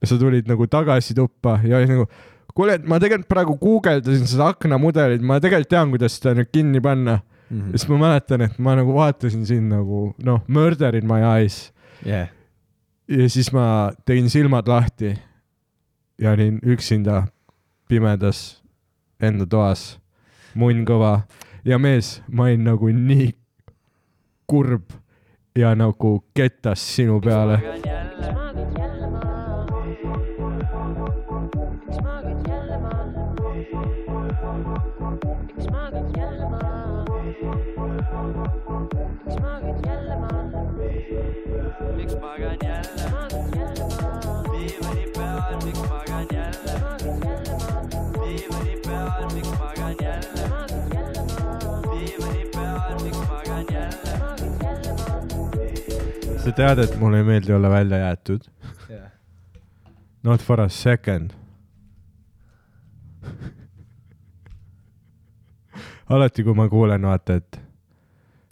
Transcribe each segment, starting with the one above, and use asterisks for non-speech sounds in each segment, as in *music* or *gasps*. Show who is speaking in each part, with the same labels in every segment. Speaker 1: ja sa tulid nagu tagasi tuppa ja oli nagu kuule , et ma tegelikult praegu guugeldasin seda aknamudelit , ma tegelikult tean , kuidas seda nüüd kinni panna .
Speaker 2: mm
Speaker 1: ja siis ma mäletan , et ma nagu vaatasin sind nagu noh , Murder in my eyes
Speaker 2: yeah. .
Speaker 1: ja siis ma tegin silmad lahti ja olin üksinda pimedas enda toas , munn kõva ja mees , ma olin nagu nii kurb ja nagu kettas sinu peale . sa tead , et mulle ei meeldi olla välja jäetud ?
Speaker 2: Yeah.
Speaker 1: Not for a second . *laughs* alati , kui ma kuulen , vaata , et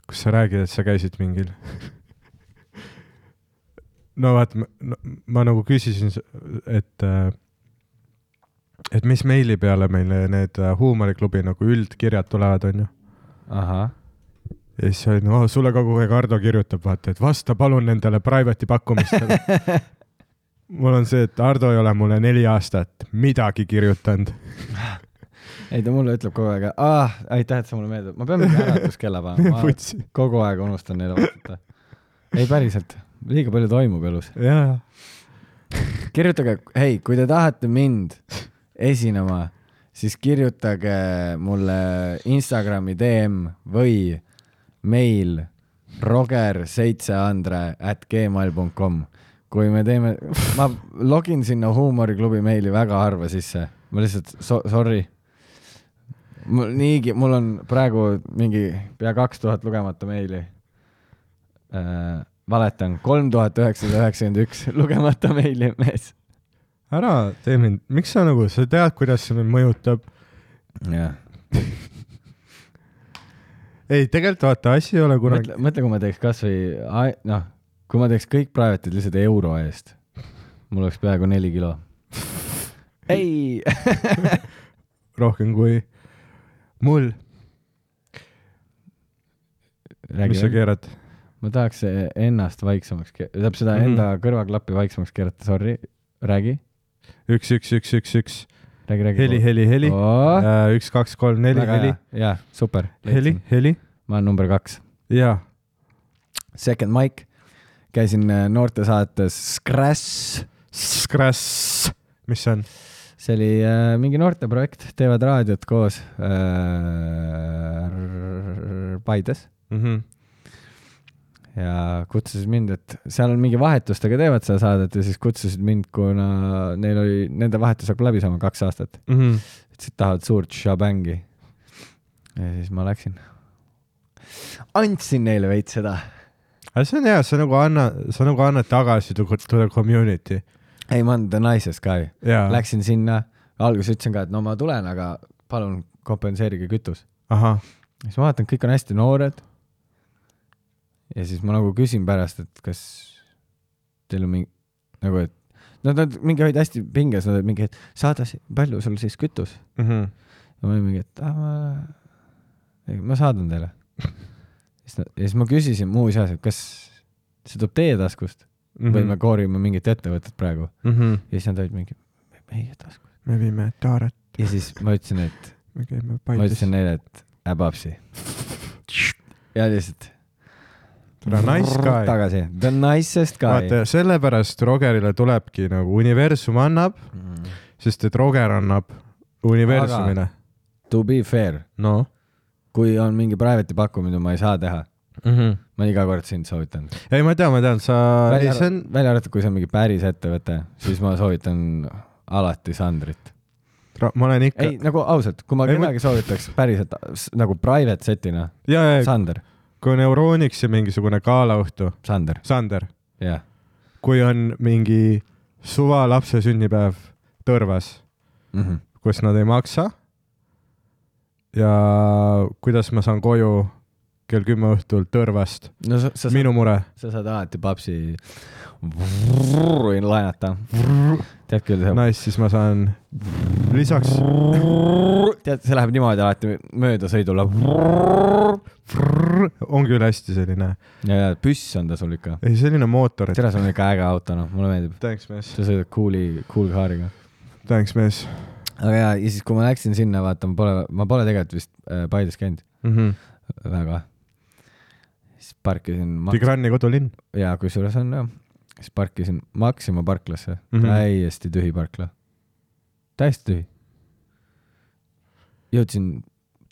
Speaker 1: kus sa räägid , et sa käisid mingil . *laughs* no vaata , no, ma nagu küsisin , et , et mis meili peale meile need äh, huumoriklubi nagu üldkirjad tulevad , onju .
Speaker 2: ahah ,
Speaker 1: ja siis oli , no sulle kogu aeg Ardo kirjutab , vaata , et vasta palun nendele private'i
Speaker 2: *laughs*
Speaker 1: pakkumistele . mul on see , et Ardo ei ole mulle neli aastat midagi kirjutanud .
Speaker 2: ei ta mulle ütleb kogu aeg , ah , aitäh , et sa mulle meeldid , ma pean mingi äratuskella panema , *laughs* ma
Speaker 1: võtsi .
Speaker 2: kogu aeg unustan neile vastata . ei päriselt , liiga palju toimub elus .
Speaker 1: jaa .
Speaker 2: kirjutage , hei , kui te tahate mind esinema , siis kirjutage mulle Instagrami DM või meil roger7andre at gmail punkt com . kui me teeme , ma login sinna huumoriklubi meili väga harva sisse , ma lihtsalt so, , sorry . mul niigi , mul on praegu mingi pea kaks tuhat lugemata meili äh, . valetan , kolm tuhat üheksasada üheksakümmend üks lugemata meili , mees .
Speaker 1: ära tee mind , miks sa nagu , sa tead , kuidas see mind mõjutab .
Speaker 2: jah .
Speaker 1: ei , tegelikult vaata , asi ei ole kunagi ,
Speaker 2: mõtle , mõtle , kui ma teeks kasvõi , noh , kui ma teeks kõik private'id lihtsalt euro eest , mul oleks peaaegu neli kilo . ei ,
Speaker 1: *laughs* rohkem kui mul . mis sa
Speaker 2: *laughs* räägi ,
Speaker 1: keerad ?
Speaker 2: ma tahaks ennast vaiksemaks , tähendab seda
Speaker 1: Mhm.
Speaker 2: enda kõrvaklappi vaiksemaks keerata , sorry , räägi ,
Speaker 1: üks , üks , üks , üks , üks ,
Speaker 2: räägi , räägi .
Speaker 1: heli , heli , heli ,
Speaker 2: heli ,
Speaker 1: üks , kaks , kolm , neli , heli ,
Speaker 2: jaa , super .
Speaker 1: heli , heli
Speaker 2: ma olen number kaks .
Speaker 1: ja
Speaker 2: Second mic , käisin äh, noortesaates Scratch
Speaker 1: Scratch , mis see on ?
Speaker 2: see oli äh, mingi noorteprojekt , teevad raadiot koos äh, Paides
Speaker 1: mm . -hmm.
Speaker 2: ja kutsusid mind , et seal on mingi vahetustega teevad seda saadet ja siis kutsusid mind , kuna neil oli , nende vahetus hakkab läbi saama kaks aastat ,
Speaker 1: Mm -hmm.
Speaker 2: ütlesid , tahavad suurt šabängi . ja siis ma läksin . andsin neile veits seda .
Speaker 1: aga see on hea , sa nagu anna , sa nagu annad tagasi to, to the community .
Speaker 2: ei , ma olen the nicest guy .
Speaker 1: jaa ,
Speaker 2: Läksin sinna , alguses ütlesin ka , et no ma tulen , aga palun kompenseerige kütus .
Speaker 1: ahah ,
Speaker 2: siis ma vaatan , kõik on hästi noored . ja siis ma nagu küsin pärast , et kas teil on mingi nagu , et nad , nad mingi olid hästi pinges , nad olid mingi , et saada , palju sul siis kütus ? Mhm. ja ma olin mingi , et ah, ma , ei ma saadan teile . siis nad , ja siis ma küsisin muuseas , et kas see tuleb teie taskust
Speaker 1: Mhm.
Speaker 2: või me koorime mingit ettevõtet praegu ja siis nad olid mingi meie taskust .
Speaker 1: me viime taaret ,
Speaker 2: ja siis ma ütlesin , et
Speaker 1: me käime
Speaker 2: ma
Speaker 1: Paides
Speaker 2: ütlesin . neile , et äbapsi . ja lihtsalt .
Speaker 1: The nice guy.
Speaker 2: tagasi , the nicest guy .
Speaker 1: vaata , sellepärast Rogerile tulebki nagu universum annab ,
Speaker 2: Mm.
Speaker 1: sest et Roger annab universumile .
Speaker 2: To be fair ,
Speaker 1: noh
Speaker 2: kui on mingi private'i pakkumine , ma ei saa teha ,
Speaker 1: mm -hmm. .
Speaker 2: ma iga kord sind soovitan .
Speaker 1: ei , ma tean , ma tean , sa , ei
Speaker 2: välja
Speaker 1: see on ,
Speaker 2: välja arvatud , kui see on mingi päris ettevõte , siis ma soovitan alati Sandrit .
Speaker 1: ma olen ikka ,
Speaker 2: ei , nagu ausalt , kui ma
Speaker 1: Ei, ma-
Speaker 2: kedagi soovitaks päriselt s- nagu private set'ina ,
Speaker 1: ja , ja
Speaker 2: Sander ,
Speaker 1: kui on Euroniks ja mingisugune galaõhtu ,
Speaker 2: Sander ,
Speaker 1: Sander ,
Speaker 2: jah .
Speaker 1: kui on mingi suva lapse sünnipäev Tõrvas
Speaker 2: Mhm.
Speaker 1: kus nad ei maksa . ja kuidas ma saan koju kell kümme õhtul Tõrvast .
Speaker 2: no sa , sa ,
Speaker 1: minu mure .
Speaker 2: sa saad alati papsi laenata . tead küll , see
Speaker 1: Nice , siis ma saan lisaks
Speaker 2: tead , see läheb niimoodi alati möödasõidule .
Speaker 1: on küll hästi selline ,
Speaker 2: ja , ja püss on ta sul ikka .
Speaker 1: ei selline mootor , et
Speaker 2: tere , sul on ikka äge auto , noh , mulle meeldib .
Speaker 1: thanks mees ,
Speaker 2: sa sõidad cool'i , cool car'iga .
Speaker 1: thanks mees
Speaker 2: aga ja , ja siis , kui ma läksin sinna , vaata , ma pole , ma pole tegelikult vist äh, Paides käinud
Speaker 1: mm
Speaker 2: Mhm.
Speaker 1: -hmm. .
Speaker 2: väga . siis parkisin ma- ,
Speaker 1: Tigrani kodulinn
Speaker 2: jaa , kusjuures on jah . siis parkisin Maxima parklasse mm ,
Speaker 1: Mhm.
Speaker 2: -hmm. täiesti tühi parkla . täiesti tühi . jõudsin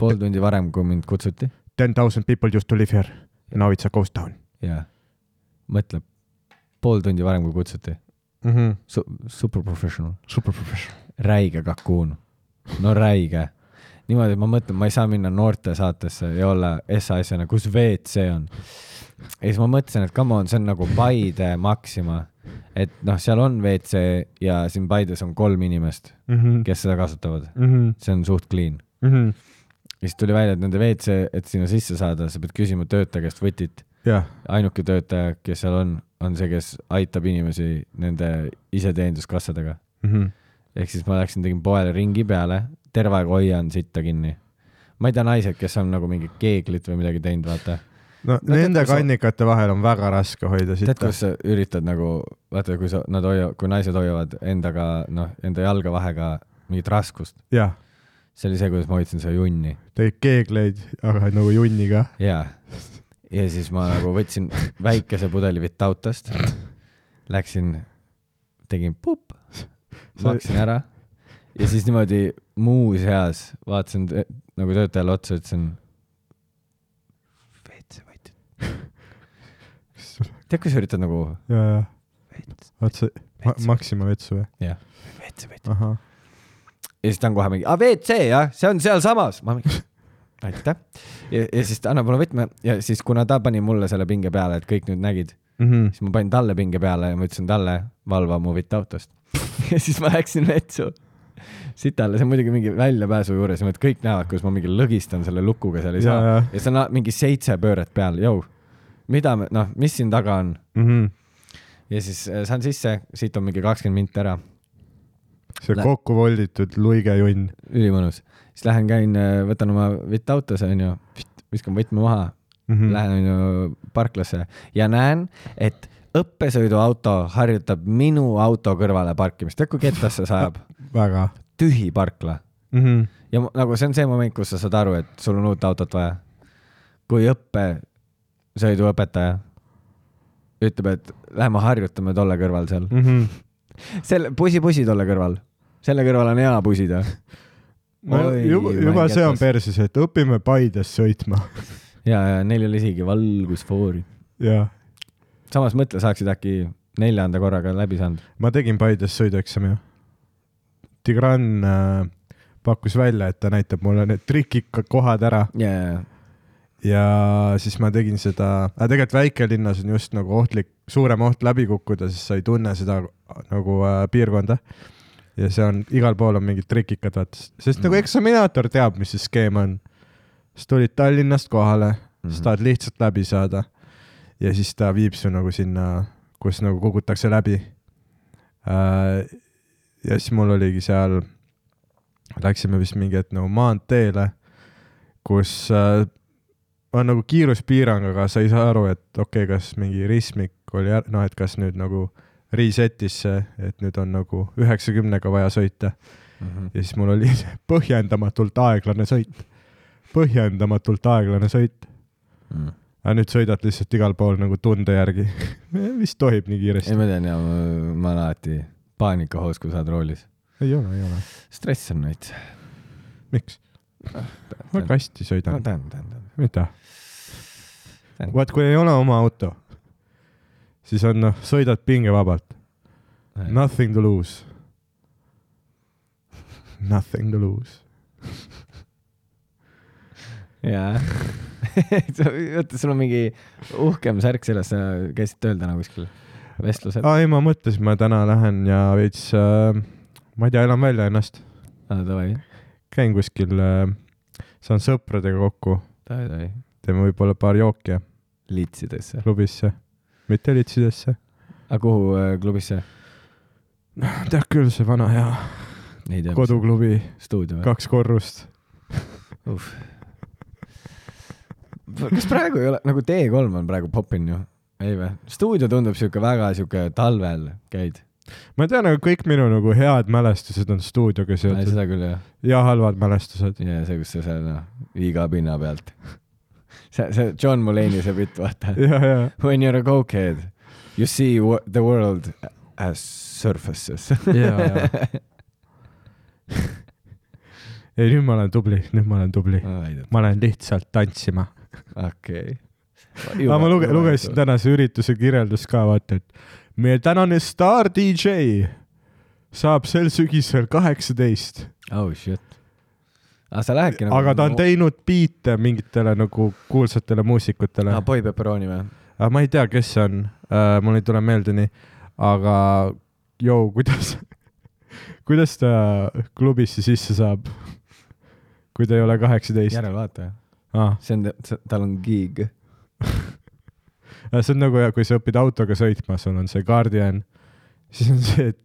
Speaker 2: pool tundi varem , kui mind kutsuti
Speaker 1: ten thousand people used to live here . Now it's a ghost town
Speaker 2: ja mõtle , pool tundi varem , kui kutsuti
Speaker 1: mm . -hmm.
Speaker 2: Su . Mhm. Super professional ,
Speaker 1: Super professional .
Speaker 2: räige kakuun . no räige . niimoodi , et ma mõtlen , ma ei saa minna noortesaatesse ja olla SAS-ina , kus WC on . ja siis ma mõtlesin , et come on , see on nagu Paide Maxima . et noh , seal on WC ja siin Paides on kolm inimest ,
Speaker 1: Mm -hmm.
Speaker 2: kes seda kasutavad .
Speaker 1: mm -hmm.
Speaker 2: see on suht clean .
Speaker 1: mm -hmm.
Speaker 2: ja siis tuli välja , et nende WC , et sinna sisse saada , sa pead küsima töötaja käest võtit .
Speaker 1: jah ,
Speaker 2: ainuke töötaja , kes seal on , on see , kes aitab inimesi nende iseteeninduskassadega .
Speaker 1: Mhm.
Speaker 2: ehk siis ma läksin , tegin poele ringi peale , terve aeg hoian sitta kinni . ma ei tea , naised , kes on nagu mingit keeglit või midagi teinud , vaata .
Speaker 1: no
Speaker 2: tead,
Speaker 1: nende
Speaker 2: kui sa-
Speaker 1: kannikate vahel on väga raske hoida
Speaker 2: tead ,
Speaker 1: sitta .
Speaker 2: kus sa üritad nagu , vaata , kui sa , nad hoiavad , kui naised hoiavad endaga , noh , enda jalga vahega mingit raskust .
Speaker 1: jah ,
Speaker 2: see oli see , kuidas ma hoidsin seda junni .
Speaker 1: tegid keegleid , aga nagu junniga .
Speaker 2: jaa . ja siis ma nagu võtsin väikese pudeli Vitautast , läksin , tegin pup , maksin ära ja siis niimoodi muuseas vaatasin tö- nagu töötajale otsa , ütlesin . WC võtid . tead , kui sa üritad nagu
Speaker 1: ja , ja . vaat see ma, , Maxima vetsu või ?
Speaker 2: WC võtid
Speaker 1: ahah ,
Speaker 2: ja siis ta on kohe mingi , aa WC jah , see on sealsamas . ma mingi , aitäh . ja , ja siis ta annab mulle võtme ja siis , kuna ta pani mulle selle pinge peale , et kõik nüüd nägid ,
Speaker 1: Mhm,
Speaker 2: siis ma panin talle pinge peale ja ma ütlesin talle , valva mu vitt autost . *laughs* ja siis ma läksin vetsu . sitale , see on muidugi mingi väljapääsu juures , niimoodi et kõik näevad , kuidas ma mingi lõgistan selle lukuga seal ei
Speaker 1: ja ,
Speaker 2: saa .
Speaker 1: ja .
Speaker 2: ja seal on mingi seitse pööret peal , jõu . mida me , noh , mis siin taga on
Speaker 1: mhm.
Speaker 2: ja siis äh, saan sisse , siit on mingi kakskümmend minti ära ,
Speaker 1: see
Speaker 2: Lä-
Speaker 1: kokku volditud luige junn .
Speaker 2: ülimõnus . siis lähen käin , võtan oma vitt autos onju , viskan võtme maha ,
Speaker 1: Mhm.
Speaker 2: lähen onju parklasse ja näen , et õppesõiduauto harjutab minu auto kõrvale parkimist , tead kui kettasse see *laughs* ajab ?
Speaker 1: väga .
Speaker 2: tühi parkla ja mu- nagu see on see moment , kus sa saad aru , et sul on uut autot vaja . kui õppesõiduõpetaja ütleb , et lähme harjutame tolle kõrval seal , selle bussi-bussi tolle kõrval , selle kõrval on hea *laughs* busida .
Speaker 1: no
Speaker 2: Oi,
Speaker 1: juba ,
Speaker 2: ma
Speaker 1: juba
Speaker 2: ei
Speaker 1: see on
Speaker 2: ketas.
Speaker 1: perses , et õpime Paides sõitma *laughs*
Speaker 2: ja , ja neil ei ole isegi valgusfoori .
Speaker 1: ja
Speaker 2: samas mõtle , saaksid äkki neljanda korraga läbi saanud .
Speaker 1: ma tegin Paides sõidueksami ju . Tigran äh, pakkus välja , et ta näitab mulle need trikikohad ära
Speaker 2: ja , ja ,
Speaker 1: ja siis ma tegin seda , aga tegelikult väikelinnas on just nagu ohtlik , suurem oht läbi kukkuda , sest sa ei tunne seda nagu äh, piirkonda . ja see on , igal pool on mingid trikikad , vaata , sest mm. nagu eksaminaator teab , mis see skeem on . sa tulid Tallinnast kohale mm , -hmm. sa
Speaker 2: ja .
Speaker 1: tahad lihtsalt läbi saada ja siis ta viib su nagu sinna , kus nagu kogutakse läbi äh, . ja siis mul oligi seal , läksime vist mingi hetk nagu maanteele , kus äh, on nagu kiiruspiirang , aga sa ei saa aru , et okei okay, , kas mingi ristmik oli , noh , et kas nüüd nagu reset'is see , et nüüd on nagu üheksakümnega vaja sõita
Speaker 2: Mhm.
Speaker 1: ja siis mul oli *laughs* põhjendamatult aeglane sõit , põhjendamatult aeglane sõit .
Speaker 2: Mhm.
Speaker 1: aga nüüd sõidad lihtsalt igal pool nagu tunde järgi . *laughs* vist tohib nii
Speaker 2: ei ,
Speaker 1: kiiresti ?
Speaker 2: ma tean ja , ma olen alati paanikahoos , kui sa oled roolis .
Speaker 1: ei ole , ei ole .
Speaker 2: stress on veits .
Speaker 1: miks ? ma
Speaker 2: tänan ,
Speaker 1: kasti sõidan .
Speaker 2: tänan , tänan .
Speaker 1: mida ? vaat kui ei ole oma auto , siis on noh , sõidad pingevabalt . Nothing to lose . Nothing to lose .
Speaker 2: jaa . *laughs* oota , sul on mingi uhkem särk seljas , sa käisid tööl täna kuskil vestlusel ah. ?
Speaker 1: aa ei , ma mõtlesin , ma täna lähen ja veits äh, , ma ei tea , elan välja ennast .
Speaker 2: aa , Ah, davai ,
Speaker 1: käin kuskil äh, , saan sõpradega kokku ,
Speaker 2: davai , davai .
Speaker 1: teeme võib-olla paar jooki
Speaker 2: litsidesse .
Speaker 1: klubisse , mitte litsidesse .
Speaker 2: aga kuhu äh, klubisse ?
Speaker 1: tead küll , see vana hea
Speaker 2: ei tea .
Speaker 1: koduklubi ,
Speaker 2: stuudio või ?
Speaker 1: kaks korrust .
Speaker 2: kas praegu ei ole , nagu T3 on praegu popin ju ? ei või ? stuudio tundub sihuke väga sihuke talvel käid .
Speaker 1: ma tean , aga kõik minu nagu head mälestused on stuudioga seotud
Speaker 2: seda küll jah .
Speaker 1: ja halvad mälestused .
Speaker 2: ja see , kus sa seal noh , iga pinna pealt . *laughs* see , see John Mulaney see
Speaker 1: *laughs*
Speaker 2: bitt , vaata .
Speaker 1: ja , ja
Speaker 2: When you are a cokehead , you see wo- the world as surfaces . *laughs*
Speaker 1: Jaa, jaa. *laughs* ei , nüüd ma olen tubli , nüüd ma olen tubli .
Speaker 2: Ah,
Speaker 1: ma lähen lihtsalt tantsima .
Speaker 2: okei .
Speaker 1: aga ma luge- , lugesin . tänase ürituse kirjeldust ka , vaata , et meie tänane staar DJ saab sel sügisel kaheksateist ,
Speaker 2: oh shit . aga sa lähedki nagu
Speaker 1: aga ta on teinud biite mingitele nagu kuulsatele muusikutele
Speaker 2: aa , Ah, Boy Pepperoni või ?
Speaker 1: aga Äh, ma ei tea , kes see on uh, , mul ei tule meelde nii , aga joo , kuidas , *laughs* kuidas ta klubisse sisse saab ? kui ta ei ole kaheksateist
Speaker 2: järelvaataja .
Speaker 1: *laughs* ah, .
Speaker 2: see on , tal on gig .
Speaker 1: see on nagu , kui sa õpid autoga sõitma , sul on see Guardian , siis on see , et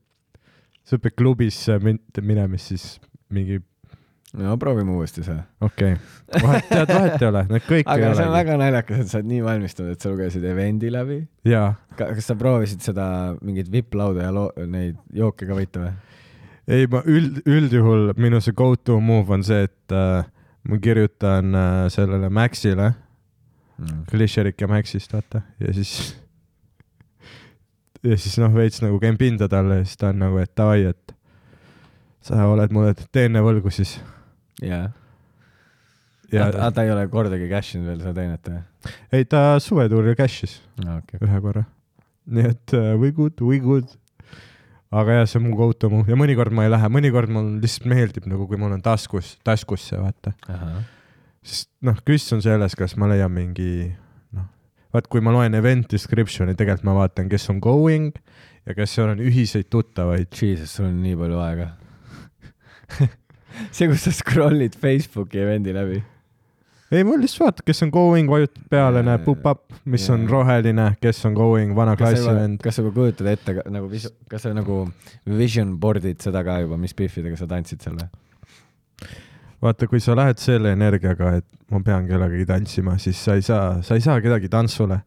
Speaker 1: sa õpid klubisse min- minema , siis mingi
Speaker 2: no proovime uuesti see .
Speaker 1: okei okay. , vahet , tead , vahet ei ole , need kõik
Speaker 2: aga
Speaker 1: ei
Speaker 2: see on
Speaker 1: ole .
Speaker 2: väga naljakas , et sa oled nii valmistunud , et sa lugesid event'i läbi .
Speaker 1: jaa ,
Speaker 2: kas sa proovisid seda mingit vipplauda ja loo- , neid jooke ka võita või ?
Speaker 1: ei , ma üld , üldjuhul minu see go to move on see , et äh, ma kirjutan äh, sellele Maxile
Speaker 2: Mm.
Speaker 1: klišerik ja Maxist , vaata , ja siis *laughs* ja siis noh , veits nagu käin pinda talle ja siis ta on nagu , et davai , et sa oled mulle teene võlgu siis .
Speaker 2: jaa .
Speaker 1: ja
Speaker 2: aga ta ei ole kordagi cash inud veel seda teenet või ?
Speaker 1: ei , ta suvetuuril cash'is
Speaker 2: aa , okei .
Speaker 1: ühe korra . nii et uh, we good , we good . aga jah , see on mu go to mu ja mõnikord ma ei lähe , mõnikord mul lihtsalt meeldib nagu , kui mul on taskus , taskus see vaata . sest noh , küsimus on selles , kas ma leian mingi noh , vaat kui ma loen event description'i , tegelikult ma vaatan , kes on going ja kas seal on ühiseid tuttavaid .
Speaker 2: Jesus , sul on nii palju aega . see , kus sa scroll'id Facebooki event'i läbi .
Speaker 1: ei , mul lihtsalt vaatad , kes on going , vajutad peale ,
Speaker 2: Jaa,
Speaker 1: näeb pop-up , mis
Speaker 2: jaa.
Speaker 1: on roheline , kes on going , vana
Speaker 2: kas sa juba
Speaker 1: klassivend ,.
Speaker 2: kas sa juba kujutad ette ka, nagu visu- , kas sa nagu vision board'id seda ka juba , mis biffidega sa tantsid seal või ?
Speaker 1: vaata , kui sa lähed selle energiaga , et ma pean kellegagi tantsima , siis sa ei saa , sa ei saa kedagi tantsule .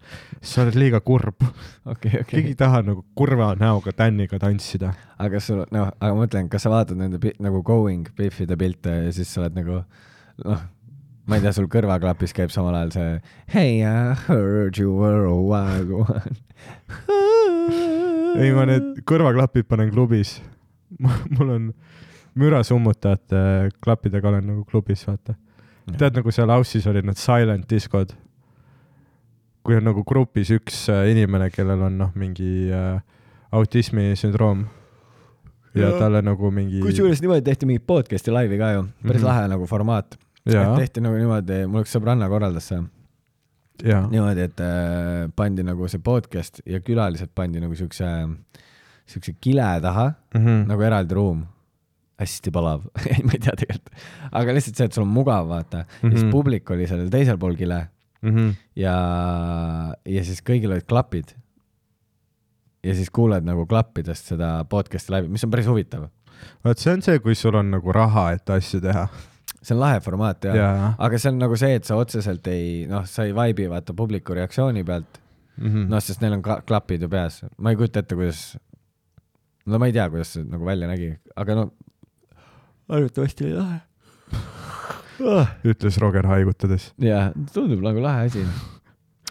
Speaker 1: sa oled liiga kurb ,
Speaker 2: okei ,
Speaker 1: keegi
Speaker 2: okei
Speaker 1: ei . taha nagu kurva näoga tänniga tantsida .
Speaker 2: aga kas sul , noh , aga ma mõtlen , kas sa vaatad nende pi- nagu going biffide pilte ja siis sa oled nagu , noh , ma ei tea , sul kõrvaklapis käib samal ajal see Hey I heard you were a wild one .
Speaker 1: ei , ma need kõrvaklapid panen klubis . *laughs* mul on mürasummutajate klappidega olen nagu klubis , vaata . tead , nagu seal house'is olid need silent diskod . kui on nagu grupis üks äh, inimene , kellel on noh , mingi äh, autismisündroom ja
Speaker 2: Jaa.
Speaker 1: talle nagu mingi .
Speaker 2: kusjuures niimoodi tehti mingit podcast'i laivi ka ju , päris
Speaker 1: Mhm.
Speaker 2: mm -hmm. lahe nagu formaat .
Speaker 1: jaa ,
Speaker 2: tehti nagu niimoodi , mul üks sõbranna korraldas see
Speaker 1: jaa ,
Speaker 2: niimoodi , et äh, pandi nagu see podcast ja külalised pandi nagu siukse , siukse kile taha nagu eraldi ruum . hästi palav , *laughs* ei ma ei tea tegelikult , aga lihtsalt see , et sul on mugav vaata mm , -hmm. ja
Speaker 1: Mhm.
Speaker 2: siis Mhm. publik oli sellel teisel pool kile
Speaker 1: nagu .
Speaker 2: ja , ja siis kõigil olid klapid . ja siis kuuled nagu klappidest seda podcast'i läbi , mis on päris huvitav ,
Speaker 1: vot see on see , kui sul on nagu raha , et asju teha .
Speaker 2: see on lahe formaat ja, ja.
Speaker 1: jaa .
Speaker 2: aga see on nagu see , et sa otseselt ei , noh , sa ei vaibi vaata publiku reaktsiooni pealt
Speaker 1: Mhm.
Speaker 2: noh , sest neil on ka klapid ju peas , ma ei kujuta ette , kuidas , no ma ei tea , kuidas see nagu välja nägi , aga no arvatavasti oli lahe . Ah.
Speaker 1: ütles Roger haigutades .
Speaker 2: jaa , tundub nagu lahe asi .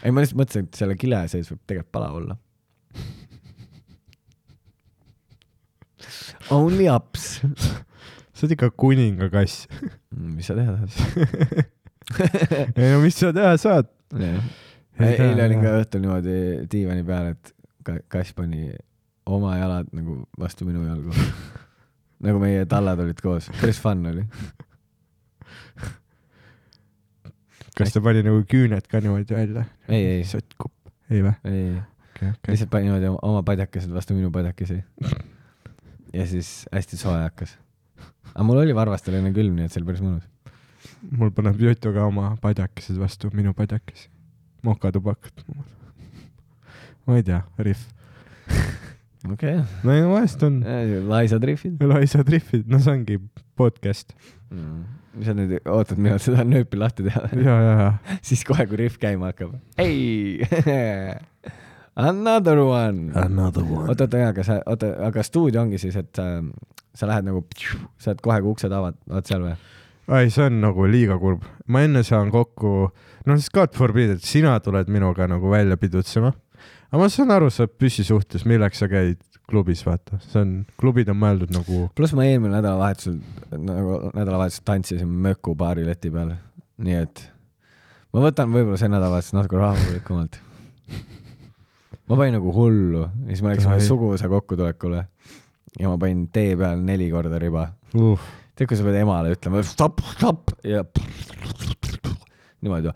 Speaker 2: ei , ma lihtsalt mõtlesin , et selle kile sees võib tegelikult palav olla . Only ups .
Speaker 1: sa oled ikka *laughs* kuningakass .
Speaker 2: Mm, mis sa teha tahad ? *laughs*
Speaker 1: ei no mis sa teha saad ?
Speaker 2: eile olin ka . õhtul niimoodi diivani peal , et ka- kass pani oma jalad nagu vastu minu jalgu . *laughs* nagu meie tallad olid koos , päris fun oli .
Speaker 1: kas ta pani nagu küüned ka niimoodi välja ?
Speaker 2: ei , ei ,
Speaker 1: sotkub . ei vä ?
Speaker 2: ei , ei ,
Speaker 1: okei , okei .
Speaker 2: lihtsalt pani niimoodi oma- oma padjakesed vastu minu padjakesi . ja siis hästi soe hakkas . aga mul oli varvastel enne külm , nii et see oli päris mõnus .
Speaker 1: mul paneb Jutu ka oma padjakesed vastu minu padjakesi . mokatubakat . ma ei tea , rihv .
Speaker 2: okei
Speaker 1: no ei no vahest on
Speaker 2: okay. , laisad rihvid
Speaker 1: laisad rihvid , no see ongi podcast .
Speaker 2: mm. . sa nüüd ootad minult seda nööpi lahti *laughs* teha ?
Speaker 1: ja , ja , ja .
Speaker 2: siis kohe , kui rihv käima hakkab . ei , *laughs* another one .
Speaker 1: Another one.
Speaker 2: oota , oota , aga sa , oota , aga stuudio ongi siis , et sa, sa lähed nagu , saad kohe , kui uksed avad , oled seal või ?
Speaker 1: ei , see on nagu liiga kurb . ma enne saan kokku , no siis God forbid , et sina tuled minuga nagu välja pidutsema . aga ma saan aru , sa oled püssi suhtes , milleks sa käid klubis , vaata , see on , klubid on mõeldud nagu
Speaker 2: pluss ma eelmine nädalavahetusel nagu nädalavahetusel tantsisin möku baari leti peal , nii et ma võtan võib-olla see nädalavahetus natuke rahulikumalt . ma panin nagu hullu ja siis me läksime
Speaker 1: Ai.
Speaker 2: suguvõsa kokkutulekule ja ma panin tee peal neli korda riba .
Speaker 1: uh, .
Speaker 2: tead , kui sa pead emale ütlema stopp , stopp ja niimoodi .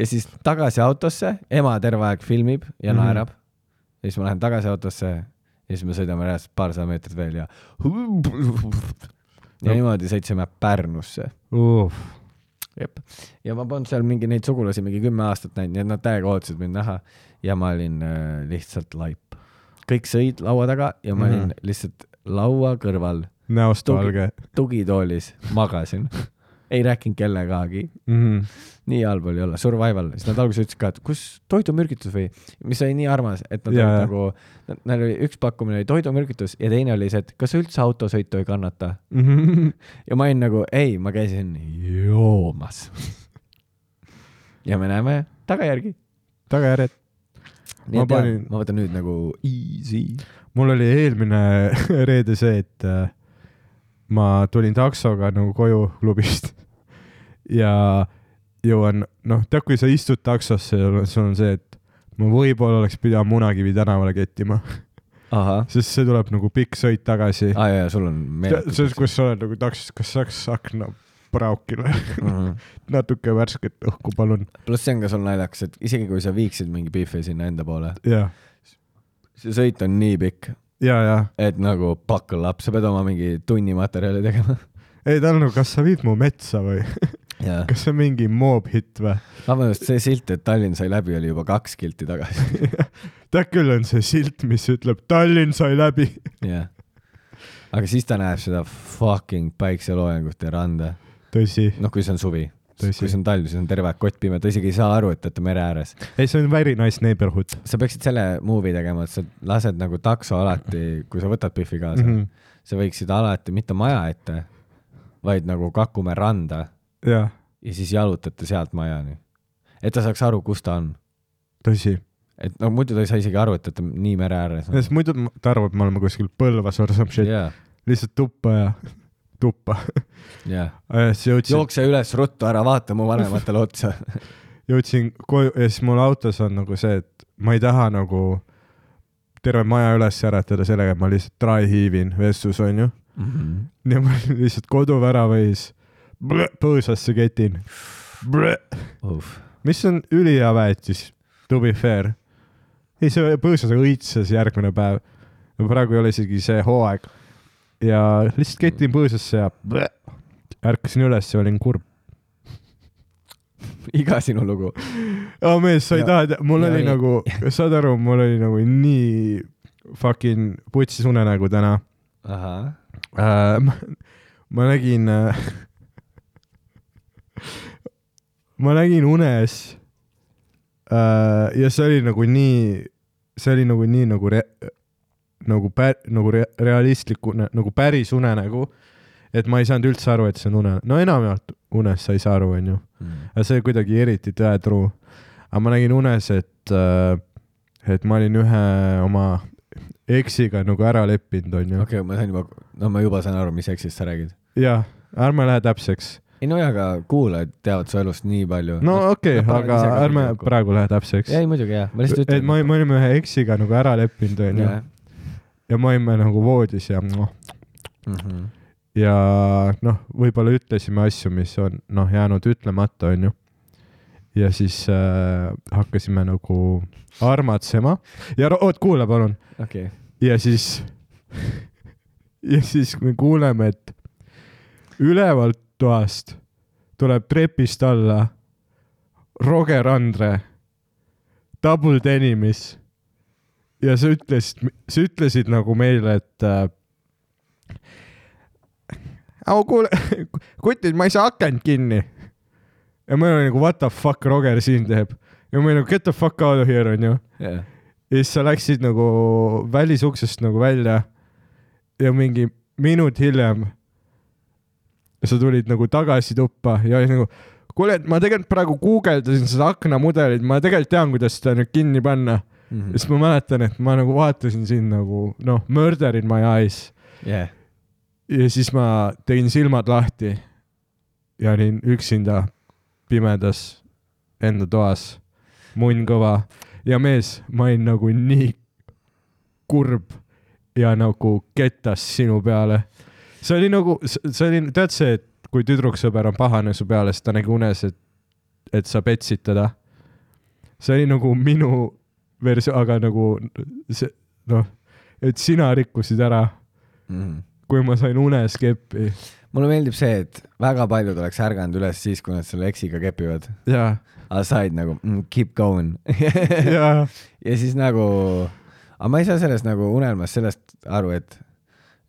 Speaker 2: ja siis tagasi autosse , ema terve aeg filmib ja
Speaker 1: Mhm.
Speaker 2: naerab . ja siis ma lähen tagasi autosse ja siis me sõidame järjest paarsada meetrit veel ja . ja
Speaker 1: No.
Speaker 2: niimoodi sõitsime Pärnusse .
Speaker 1: Uh.
Speaker 2: jep . ja ma polnud seal mingi neid sugulasi mingi kümme aastat näinud , nii et nad täiega ootasid mind näha ja ma olin äh, lihtsalt laip . kõik sõid laua taga ja ma olin
Speaker 1: Mhm.
Speaker 2: lihtsalt laua kõrval
Speaker 1: näost
Speaker 2: Tugi-
Speaker 1: valge
Speaker 2: tugitoolis magasin , *laughs* ei rääkinud kellegagi ,
Speaker 1: mm. .
Speaker 2: nii halb oli olla , survival , siis nad alguses ütlesid ka , et kus toidumürgitus või , mis oli nii armas , et nad
Speaker 1: Jaa,
Speaker 2: olid
Speaker 1: jaa.
Speaker 2: nagu , neil oli üks pakkumine oli toidumürgitus ja teine oli see , et kas üldse autosõitu ei kannata
Speaker 1: Mm
Speaker 2: ja ma olin nagu ei , ma käisin joomas . ja me näeme tagajärgi .
Speaker 1: tagajärjed . Ma
Speaker 2: nii et panin...
Speaker 1: panin-
Speaker 2: ma võtan nüüd nagu easy .
Speaker 1: mul oli eelmine *laughs* reede see , et äh, ma tulin taksoga nagu koju klubist *laughs* ja jõuan , noh , tead , kui sa istud taksosse ja sul on see , et ma võib-olla oleks pidanud Munakivi tänavale kettima , *laughs*
Speaker 2: ahah ,
Speaker 1: sest see tuleb nagu pikk sõit tagasi .
Speaker 2: aa jaa , sul
Speaker 1: *laughs*
Speaker 2: on
Speaker 1: see ,
Speaker 2: meeletu .
Speaker 1: kus sa oled nagu taksos , kas saaks akna praokile *laughs*
Speaker 2: Mhm.
Speaker 1: natuke värsket õhku , palun ?
Speaker 2: pluss see on ka sul naljakas , et isegi kui sa viiksid mingi bife sinna enda poole ,
Speaker 1: ja ,
Speaker 2: see sõit on nii pikk ,
Speaker 1: ja , ja
Speaker 2: et nagu buckle up , sa pead oma mingi tunni materjali tegema .
Speaker 1: ei , Tanel , kas sa viid mu metsa või ?
Speaker 2: jaa ,
Speaker 1: kas see on mingi moobhitt või ?
Speaker 2: Ah, vabandust , see silt , et Tallinn sai läbi , oli juba kaks kilti tagasi .
Speaker 1: tead küll , on see silt , mis ütleb Tallinn sai läbi . *laughs*
Speaker 2: jah . aga siis ta näeb seda fucking päikseloojangut ja randa ,
Speaker 1: tõsi .
Speaker 2: noh , kui see on suvi .
Speaker 1: Tõsi.
Speaker 2: kui see on talv , siis on terve aeg kottpime , ta isegi ei saa aru , et te olete mere ääres .
Speaker 1: ei , see on very nice neighborhood .
Speaker 2: sa peaksid selle movie tegema , et sa lased nagu takso alati , kui sa võtad Biffi kaasa mm ,
Speaker 1: Mhm.
Speaker 2: -hmm. sa võiksid alati mitte maja ette , vaid nagu Kakumäe randa
Speaker 1: jah ,
Speaker 2: ja siis jalutate sealt majani . et ta saaks aru , kus ta on .
Speaker 1: tõsi .
Speaker 2: et no muidu ta ei saa isegi aru , et ta on nii mere ääres on . *laughs*
Speaker 1: sest muidu ma- ta arvab , et me oleme kuskil Põlvas or some shit yeah. ,
Speaker 2: jaa ,
Speaker 1: lihtsalt tuppa ja *laughs* tuppa .
Speaker 2: jaa .
Speaker 1: siis jõudsin ,
Speaker 2: jookse üles ruttu , ära vaata mu vanematele *laughs* otsa .
Speaker 1: jõudsin koju ja siis mul autos on nagu see , et ma ei taha nagu terve maja üles äratada sellega , et ma lihtsalt dry heavin vestlus onju .
Speaker 2: Mhm.
Speaker 1: ja ma *laughs* lihtsalt koduvärava ees blõ- põõsasse ketin . mis on ülihea väetis , to be fair . ei , see põõsas õitses järgmine päev . praegu ei ole isegi see hooaeg . ja lihtsalt ketin põõsasse ja blõ- ärkasin üles ja olin kurb .
Speaker 2: iga sinu lugu .
Speaker 1: aa mees , sa ei
Speaker 2: Ja-
Speaker 1: taha tea- , mul
Speaker 2: ja
Speaker 1: oli
Speaker 2: ei-
Speaker 1: nagu , *laughs* saad aru , mul oli nagu nii fucking putsis unenägu täna
Speaker 2: ahah ,
Speaker 1: äh, . Ma, ma nägin äh, , ma nägin unes äh, ja see oli nagu nii , see oli nagu nii nagu re, , nagu pä- , nagu re, realistlik une , nagu päris unenägu . et ma ei saanud üldse aru , et see on une , no enamjaolt unes sa ei saa aru , onju ,
Speaker 2: Mhm. Mm.
Speaker 1: aga see kuidagi eriti tõetruu . aga ma nägin unes , et äh, , et ma olin ühe oma eksiga nagu ära leppinud , onju .
Speaker 2: okei , ma sain juba , no ma juba saan aru , mis eksist sa räägid .
Speaker 1: jah , ärme lähe täpseks .
Speaker 2: ei no jaa , aga kuulajad teavad su elust nii palju .
Speaker 1: no okei okay, , aga ärme praegu lähe täpseks .
Speaker 2: ei muidugi jaa , ma lihtsalt
Speaker 1: et
Speaker 2: ütlen .
Speaker 1: ma , me olime ühe eksiga nagu ära leppinud , onju , ja me olime nagu voodis ja noh ,
Speaker 2: onju .
Speaker 1: ja noh , võib-olla ütlesime asju , mis on noh , jäänud ütlemata , onju . ja siis äh, hakkasime nagu armatsema ja ro- oot , kuula palun .
Speaker 2: okei ,
Speaker 1: ja siis , ja siis me kuuleme , et ülevalt toast tuleb trepist alla Roger Andre double denimis ja sa ütlesid , sa ütlesid nagu meile , et äh, . au kuule , kutid , ma ei saa akent kinni . ja me olime nagu what the fuck Roger siin teeb ja me olime nagu get the fuck out of here onju .
Speaker 2: jah .
Speaker 1: ja siis sa läksid nagu välisuksest nagu välja ja mingi minut hiljem sa tulid nagu tagasi tuppa ja olid nagu , kuule , et ma tegelikult praegu guugeldasin seda aknamudelit , ma tegelikult tean , kuidas seda nüüd kinni panna .
Speaker 2: Mhm.
Speaker 1: ja siis ma mäletan , et ma nagu vaatasin sind nagu noh , murder in my eyes
Speaker 2: jah ,
Speaker 1: ja siis ma tegin silmad lahti ja olin üksinda pimedas enda toas , munn kõva ja mees , ma olin nagu nii kurb ja nagu ketas sinu peale . see oli nagu , see oli , tead see , et kui tüdruksõber on pahane su peale , siis ta nägi unes , et , et sa petsid teda . see oli nagu minu versioon , aga nagu see , noh , et sina rikkusid ära
Speaker 2: Mhm.
Speaker 1: kui ma sain unes keppi .
Speaker 2: mulle meeldib see , et väga paljud oleks ärganud üles siis , kui nad selle eksiga kepivad ,
Speaker 1: ja ,
Speaker 2: aga said nagu mm, keep going
Speaker 1: ja ,
Speaker 2: *laughs* ja siis nagu , aga ma ei saa sellest nagu unelmast sellest aru , et ,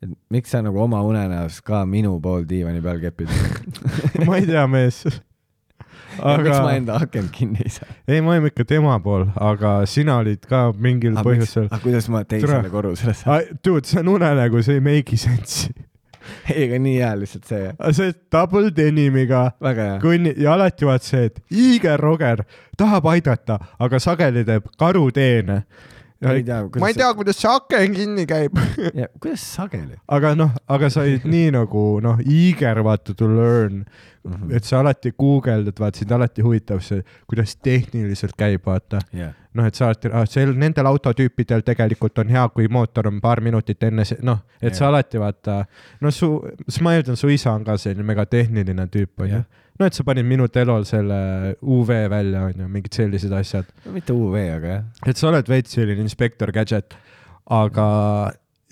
Speaker 2: et miks sa nagu oma unenäos ka minu pool diivani peal
Speaker 1: *laughs*
Speaker 2: kepid .
Speaker 1: ma ei tea , mees .
Speaker 2: aga miks ma
Speaker 1: aga ,
Speaker 2: enda akent kinni ei saa ?
Speaker 1: ei , me olime ikka tema pool , aga sina olid ka mingil
Speaker 2: aga miks ,
Speaker 1: põhjusel .
Speaker 2: aga kuidas ma teisele
Speaker 1: Tere.
Speaker 2: korrusele saan ? *laughs*
Speaker 1: Dude , see on unenägu , see ei make'i sense'i .
Speaker 2: ei , aga nii hea lihtsalt see ,
Speaker 1: see double denimiga
Speaker 2: väga hea .
Speaker 1: kõnni ja alati vaat see , et hiiger Roger tahab aidata , aga sageli teeb karuteene .
Speaker 2: Ma ei tea, kuidas
Speaker 1: ma ei tea , kuidas see aken kinni käib . *laughs*
Speaker 2: ja kuidas sageli ?
Speaker 1: aga noh , aga sa olid nii nagu noh , eager vaata to learn mm ,
Speaker 2: Mhm.
Speaker 1: -hmm. et sa alati guugeldad , vaata sind alati huvitab see , kuidas tehniliselt käib , vaata .
Speaker 2: jah ,
Speaker 1: noh , et sa alati ah, , sel , nendel autotüüpidel tegelikult on hea , kui mootor on paar minutit enne see , noh , et yeah. sa
Speaker 2: Jah.
Speaker 1: alati vaata , no su , Smiled on su isa on ka selline megatehniline tüüp , onju
Speaker 2: Jah. .
Speaker 1: no et sa panid minu telol selle UV välja , onju , mingid sellised asjad .
Speaker 2: mitte UV , aga jah .
Speaker 1: et sa oled veits selline inspektor gadget , aga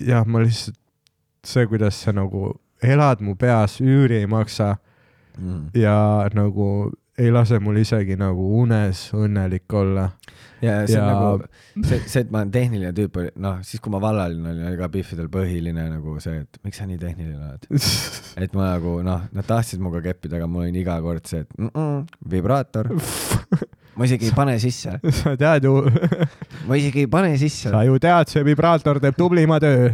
Speaker 1: jah , ma lihtsalt , see , kuidas sa nagu elad mu peas , üüri ei maksa
Speaker 2: Mm.
Speaker 1: ja nagu ei lase mul isegi nagu unes õnnelik olla . *laughs*
Speaker 2: ja see
Speaker 1: Ja-
Speaker 2: on nagu , see , see , et ma olen tehniline tüüp , noh , siis kui ma vallaline olin , oli ka Biffidel põhiline nagu see , et miks sa nii tehniline oled . et ma nagu noh , nad tahtsid minuga keppida , aga mul on iga kord see , et mm -mm, vibraator , ma isegi ei pane sisse ,
Speaker 1: sa tead ju ,
Speaker 2: ma isegi ei pane sisse .
Speaker 1: sa ju tead , see vibraator teeb tublima töö .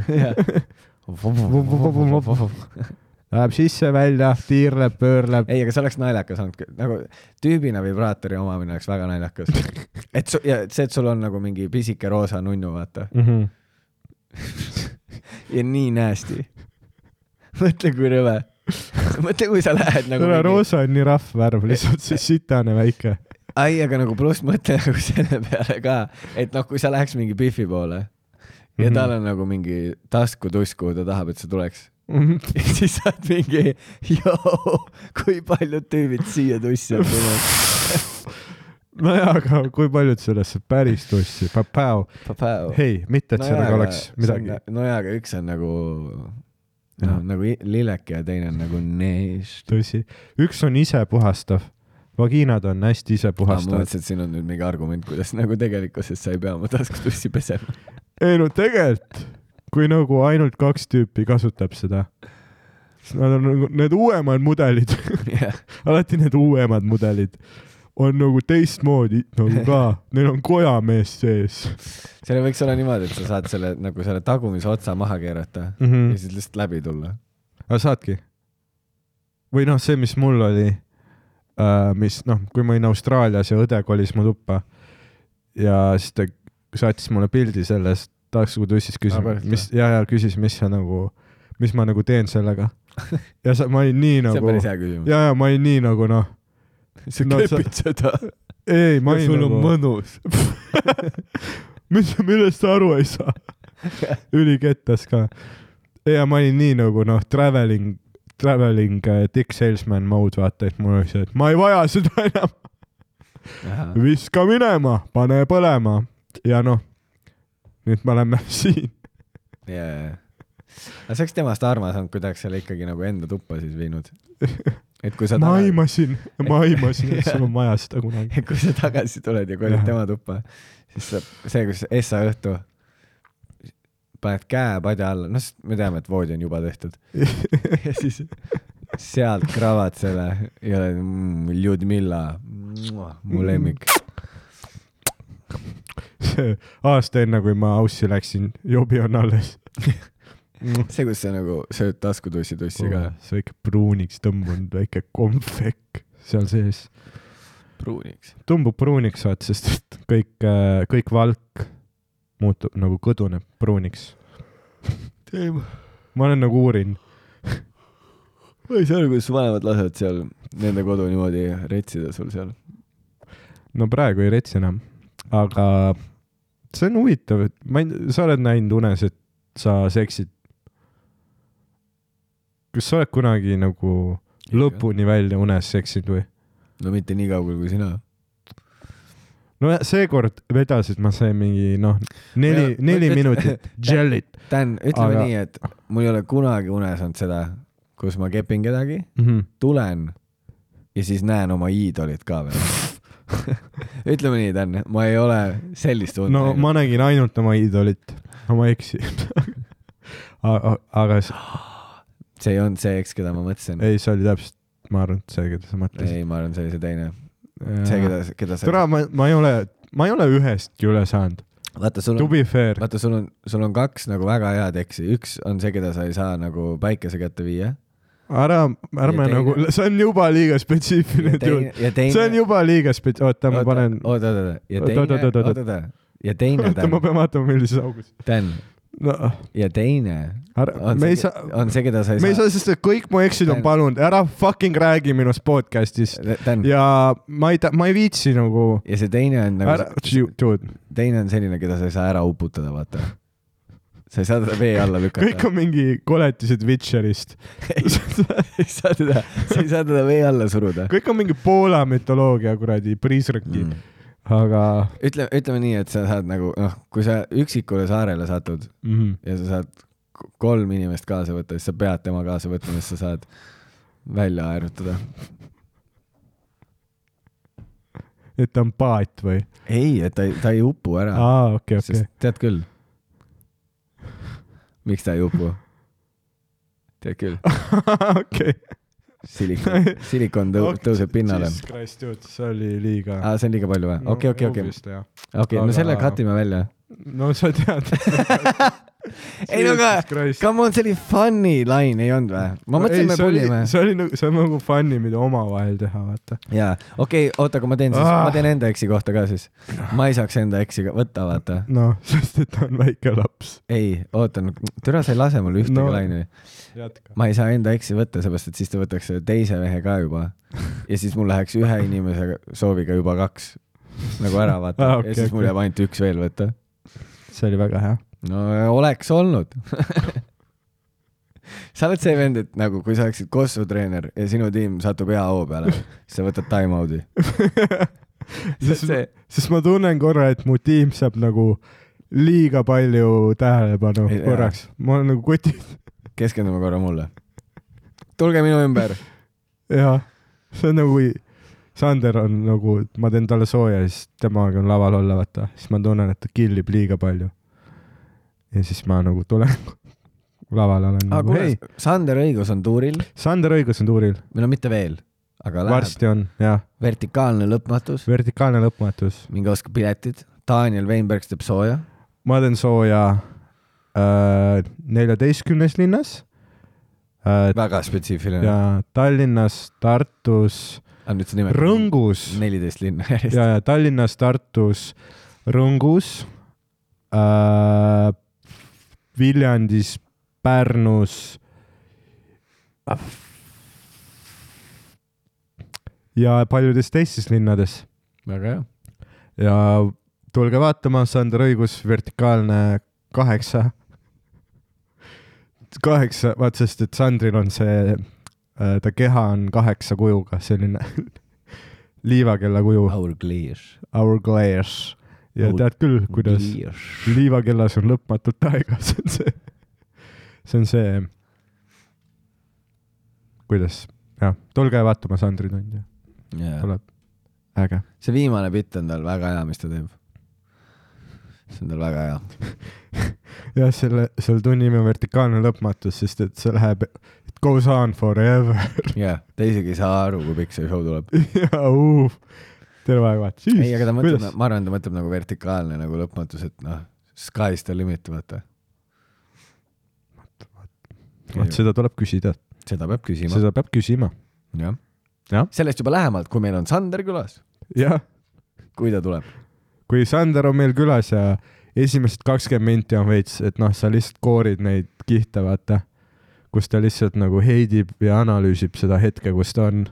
Speaker 1: Läheb sisse-välja , tiirleb , pöörleb .
Speaker 2: ei , aga see oleks naljakas olnud , nagu tüübina vibraatori omamine oleks väga naljakas . et su, ja see , et sul on nagu mingi pisike roosa nunnu , vaata ,
Speaker 1: Mhm.
Speaker 2: ja nii nasty . mõtle , kui rõve . mõtle , kui sa lähed nagu .
Speaker 1: kuule , roosa on nii rahv värv , lihtsalt see sitane väike . *laughs*
Speaker 2: ai , aga nagu pluss mõtle nagu selle peale ka , et noh , kui sa läheks mingi Biffi poole
Speaker 1: Mhm.
Speaker 2: ja mm -hmm. tal on nagu mingi taskutuss , kuhu ta tahab , et sa tuleks . *laughs* ja siis sa oled mingi , joo , kui paljud tüübid siia tussi on tulnud .
Speaker 1: nojah , aga kui paljud sellesse päris tussi , papau . *laughs* ei , mitte , et sellega oleks midagi .
Speaker 2: nojaa , aga üks on nagu ,
Speaker 1: Jah.
Speaker 2: noh , nagu i- lilleke ja teine on nagu neist .
Speaker 1: tõsi , üks on isepuhastav , vagiinad on hästi
Speaker 2: ma
Speaker 1: isepuhastavad .
Speaker 2: mõtlesin , et siin on nüüd mingi argument , kuidas nagu tegelikkuses sa ei pea oma taskutussi pesema .
Speaker 1: ei no tegelikult , kui nagu ainult kaks tüüpi kasutab seda , siis nad on nagu need uuemad mudelid , *laughs*
Speaker 2: jah ,
Speaker 1: alati need uuemad mudelid on nagu teistmoodi nagu ka , neil on kojamees sees
Speaker 2: seal võiks olla niimoodi , et sa saad selle nagu selle tagumise otsa maha keerata
Speaker 1: mm .
Speaker 2: ja
Speaker 1: -hmm.
Speaker 2: siis lihtsalt läbi tulla .
Speaker 1: aga saadki ? või noh , see , mis mul oli , mis noh , kui ma olin Austraalias ja õde kolis mu tuppa ja siis ta saatis mulle pildi sellest taskutussis , küsis
Speaker 2: Aa, päriselt , või?
Speaker 1: mis ja , ja küsis , mis sa nagu , mis ma nagu teen
Speaker 2: *laughs*
Speaker 1: sellega . ja sa , ma olin nii
Speaker 2: see on
Speaker 1: nagu ,
Speaker 2: päris hea küsimus .
Speaker 1: ja , ja ma olin nii nagu noh ,
Speaker 2: sa
Speaker 1: no sa-
Speaker 2: kepid seda .
Speaker 1: ei , ma olin nagu ,
Speaker 2: mõnus .
Speaker 1: *laughs* mis , millest sa aru ei
Speaker 2: *laughs*
Speaker 1: saa . ülikettas ka . ja ma olin nii nagu noh , traveling , traveling äh, dick salesman mode , vaata , et mul oli see , et ma ei vaja seda enam . viska minema , pane põlema ja noh , nüüd me oleme *laughs* siin .
Speaker 2: jajah . aga see oleks temast armas olnud , kui ta oleks selle ikkagi nagu enda tuppa siis viinud . et kui sa
Speaker 1: ma
Speaker 2: taga-
Speaker 1: aimasin , ma aimasin , et sul on
Speaker 2: *laughs* Jah.
Speaker 1: vaja seda kunagi .
Speaker 2: *laughs* et kui sa tagasi tuled ja
Speaker 1: Jah.
Speaker 2: kolid tema tuppa , siis saab see , kus Essa õhtu paned käe padja alla , noh , me teame , et voodi on juba tehtud ja
Speaker 1: *laughs*
Speaker 2: siis sealt kravad selle ja oled mm, Ljudmilla ,
Speaker 1: Mm.
Speaker 2: mu lemmik .
Speaker 1: aasta enne , kui ma aussi läksin , jobi on alles .
Speaker 2: see , kus sa nagu sööd taskutussi tussi ka .
Speaker 1: see väike pruuniks tõmbunud väike kompvekk seal sees .
Speaker 2: pruuniks .
Speaker 1: tõmbub pruuniks , vaat , sest et kõik , kõik valk muutub nagu kõduneb pruuniks .
Speaker 2: teema .
Speaker 1: ma olen nagu uurin .
Speaker 2: ma ei saa aru , kuidas su vanemad lasevad seal nende kodu niimoodi retsida sul seal .
Speaker 1: no praegu ei retsi enam , aga see on huvitav , et ma ei , sa oled näinud unes , et sa seksid . kas sa oled kunagi nagu lõpuni välja unes seksinud või ?
Speaker 2: no mitte nii kaugel kui sina .
Speaker 1: no ja- seekord vedasid , ma sain mingi noh , neli ,
Speaker 2: Ma-
Speaker 1: neli
Speaker 2: ma-
Speaker 1: minutit
Speaker 2: *laughs*
Speaker 1: jellit
Speaker 2: Dan , ütleme
Speaker 1: Aga-
Speaker 2: aga... nii , et mul ei ole kunagi unes olnud seda , kus ma kepin kedagi ,
Speaker 1: mm . -hmm.
Speaker 2: tulen ja siis näen oma iidolit ka veel . ütleme nii , Dan , ma ei ole sellist und
Speaker 1: no ma nägin ainult oma iidolit , ma eksin .
Speaker 2: *laughs*
Speaker 1: aga s-
Speaker 2: see ei olnud see , eks , keda ma mõtlesin .
Speaker 1: ei , see oli täpselt , ma arvan , et see , keda sa mõtlesid .
Speaker 2: ei , ma arvan , see oli see teine . see , keda , keda sa
Speaker 1: tere ,, ma , ma ei ole , ma ei ole ühestki üle saanud ,
Speaker 2: vaata , sul
Speaker 1: to
Speaker 2: on ,
Speaker 1: be fair .
Speaker 2: vaata , sul on , sul on kaks nagu väga head eksi , üks on see , keda sa ei saa nagu päikese kätte
Speaker 1: *laughs*
Speaker 2: viia .
Speaker 1: ära , ärme
Speaker 2: teine-
Speaker 1: nagu , see on juba liiga spetsiifiline tüüp .
Speaker 2: ja teine
Speaker 1: see on juba liiga spets- , oota , ma panen ,
Speaker 2: oot , oot , oot , ja
Speaker 1: Oot,
Speaker 2: teine ,
Speaker 1: oot,
Speaker 2: oot ,
Speaker 1: oot,
Speaker 2: oot ,
Speaker 1: oot, oot.
Speaker 2: oot , ja teine ,
Speaker 1: oota , ma pean vaatama , millises augus .
Speaker 2: Dan ,
Speaker 1: no ,
Speaker 2: ja teine
Speaker 1: ära ,
Speaker 2: on
Speaker 1: me
Speaker 2: see,
Speaker 1: ei saa ,
Speaker 2: on see , keda sa
Speaker 1: me
Speaker 2: ei
Speaker 1: ei saa , sest et kõik mu eksid on
Speaker 2: Dan-
Speaker 1: palunud , ära fucking räägi minust podcast'ist
Speaker 2: saa . Dan ,
Speaker 1: ja ma ei , ma ei viitsi nagu ,
Speaker 2: ja see teine on nagu
Speaker 1: ära , dude ,
Speaker 2: teine on selline , keda sa ei saa ära uputada , vaata . sa ei saa teda vee alla
Speaker 1: kõik
Speaker 2: lükata .
Speaker 1: on mingi koletised Witcherist ,
Speaker 2: *laughs* ei saa teda , sa ei saa teda vee alla suruda .
Speaker 1: kõik on mingi Poola mütoloogia kuradi priisrõki mm. , aga
Speaker 2: ütleme , ütleme nii , et sa saad nagu noh , kui sa üksikule saarele satud
Speaker 1: mm,
Speaker 2: ja sa saad k- kolm inimest kaasa võtta , siis sa pead tema kaasa võtma , siis sa saad välja aerutada .
Speaker 1: et ta on paat või ?
Speaker 2: ei , et ta ei , ta ei upu ära
Speaker 1: aa , okei , okei
Speaker 2: sest . tead küll . miks ta ei upu ? tead küll ,
Speaker 1: okei .
Speaker 2: silikon ,
Speaker 1: *laughs*
Speaker 2: silikon tõu- , tõuseb pinnale .
Speaker 1: Jesus Christ , dude , see oli liiga .
Speaker 2: aa , see on liiga palju või ? okei , okei , okei ,. okei ,
Speaker 1: Aga-
Speaker 2: no selle cut ime välja .
Speaker 1: no sa tead .
Speaker 2: *laughs* ei no aga ,. come on , see oli funny line , ei olnud või ? ma mõtlesin , me pullime .
Speaker 1: see oli nagu , see on nagu fun'i , mida omavahel teha , vaata .
Speaker 2: jaa , okei , oota , aga ma teen siis ,
Speaker 1: Ah.
Speaker 2: ma teen enda eksi kohta ka siis . ma ei saaks enda eksi ka- võtta , vaata .
Speaker 1: noh , *laughs* sest et ta on väike laps .
Speaker 2: ei , oota , türa , sa ei lase mul ühtegi
Speaker 1: No.
Speaker 2: no. laine'i .
Speaker 1: jätka .
Speaker 2: ma ei saa enda eksi võtta , seepärast et siis ta võtaks selle teise mehe ka juba . ja siis mul läheks ühe inimese sooviga juba kaks nagu ära vaata
Speaker 1: Aa,
Speaker 2: ah,
Speaker 1: okei,
Speaker 2: okay, ja siis mul
Speaker 1: okei.
Speaker 2: jääb ainult üks veel võtta .
Speaker 1: see oli väga hea .
Speaker 2: no oleks olnud . sa oled see vend , et nagu kui sa oleksid Kosovo treener ja sinu tiim satub hea hoo peale , siis sa võtad time-out'i . *laughs*
Speaker 1: sest
Speaker 2: see ,
Speaker 1: sest ma tunnen korra , et mu tiim saab nagu liiga palju tähelepanu
Speaker 2: Ei-
Speaker 1: korraks . ma olen nagu *laughs* kutid
Speaker 2: keskendume korra mulle . tulge minu ümber .
Speaker 1: ja see on nagu , kui Sander on nagu , ma teen talle sooja , siis temaga on laval olla , vaata , siis ma tunnen , et ta killib liiga palju . ja siis ma nagu tulen *laughs* laval olen
Speaker 2: aga
Speaker 1: nagu,
Speaker 2: kuule
Speaker 1: hei ,,
Speaker 2: Sander Õigus on tuuril ,
Speaker 1: Sander Õigus on tuuril ,
Speaker 2: või no mitte veel , aga läheb .
Speaker 1: varsti on jah ,
Speaker 2: vertikaalne lõpmatus .
Speaker 1: vertikaalne lõpmatus ,
Speaker 2: minge ostke piletid , Daniel Weinberg teeb sooja .
Speaker 1: ma teen sooja äh, neljateistkümnes äh, linnas äh,
Speaker 2: väga spetsiifiline
Speaker 1: ja . Tallinnas , Tartus ,
Speaker 2: aga nüüd see nimi .
Speaker 1: Rõngus
Speaker 2: neliteist linna järjest .
Speaker 1: ja , ja Tallinnas , Tartus , Rõngus äh, , Viljandis , Pärnus . äh, ja paljudes teistes linnades
Speaker 2: väga hea .
Speaker 1: ja tulge vaatama , Sander Õigus , vertikaalne kaheksa . kaheksa , vaat sest , et Sandril on see , ta keha on kaheksa kujuga selline *laughs* liivakella kuju .
Speaker 2: Our Clears .
Speaker 1: Hourglass ja
Speaker 2: Old
Speaker 1: tead küll , kuidas liivakellas on lõpmatult aega , *laughs* see on see , see on see , kuidas jah , tulge vaatama Sandri tundi ,
Speaker 2: jaa .
Speaker 1: tuleb äge .
Speaker 2: see viimane bitt on tal väga hea , mis ta teeb . see on tal väga hea .
Speaker 1: jah , selle , selle tunni nimi on vertikaalne lõpmatus , sest et see läheb , it goes on forever *laughs*
Speaker 2: jaa , ta isegi ei saa aru , kui pikk see show tuleb .
Speaker 1: ja uh, terve aeg vaata .
Speaker 2: ei , aga ta mõtleb , ma arvan , ta mõtleb nagu vertikaalne nagu lõpmatus , et noh , sky's the limit , vaata .
Speaker 1: vot seda tuleb küsida ,
Speaker 2: seda peab küsima ,
Speaker 1: seda peab küsima .
Speaker 2: jah
Speaker 1: Jah. .
Speaker 2: sellest juba lähemalt , kui meil on Sander külas ,
Speaker 1: jah ,
Speaker 2: kui ta tuleb .
Speaker 1: kui Sander on meil külas ja esimesed kakskümmend minti on veits , et noh , sa lihtsalt koorid neid kihte , vaata , kus ta lihtsalt nagu heidib ja analüüsib seda hetke , kus ta on .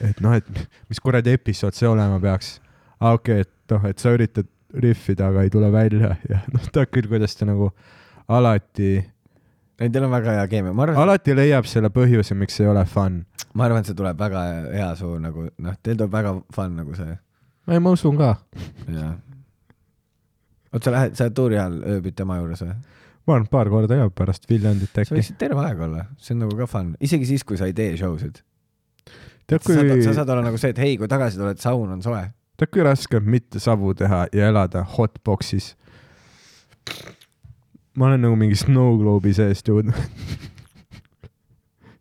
Speaker 1: et noh , et mis kuradi episood see olema peaks . aa , okei okay, , et noh , et sa üritad riffida , aga ei tule välja *laughs* ja noh , tead küll , kuidas ta nagu alati ,
Speaker 2: ei , teil on väga hea keemia , ma arvan ,
Speaker 1: alati leiab selle põhjuse , miks ei ole fun .
Speaker 2: ma arvan , et see tuleb väga hea suur nagu noh , teil tuleb väga fun nagu see ,
Speaker 1: ei , ma usun ka .
Speaker 2: jah . oot , sa lähed , sa tuuri ajal ööbid tema juures või ?
Speaker 1: ma arvan , et paar korda ja pärast Viljandit
Speaker 2: sa
Speaker 1: äkki .
Speaker 2: võiksid terve aeg olla , see on nagu ka fun , isegi siis , kui sa ei tee show sid .
Speaker 1: tead ,
Speaker 2: Kui...
Speaker 1: kui
Speaker 2: sa , saad olla nagu see , et hei , kui tagasi tuled , saun on soe .
Speaker 1: tead , kui raske on mitte savu teha ja elada hotbox'is . ma olen nagu mingi snow globe'i seest jõudnud . *laughs*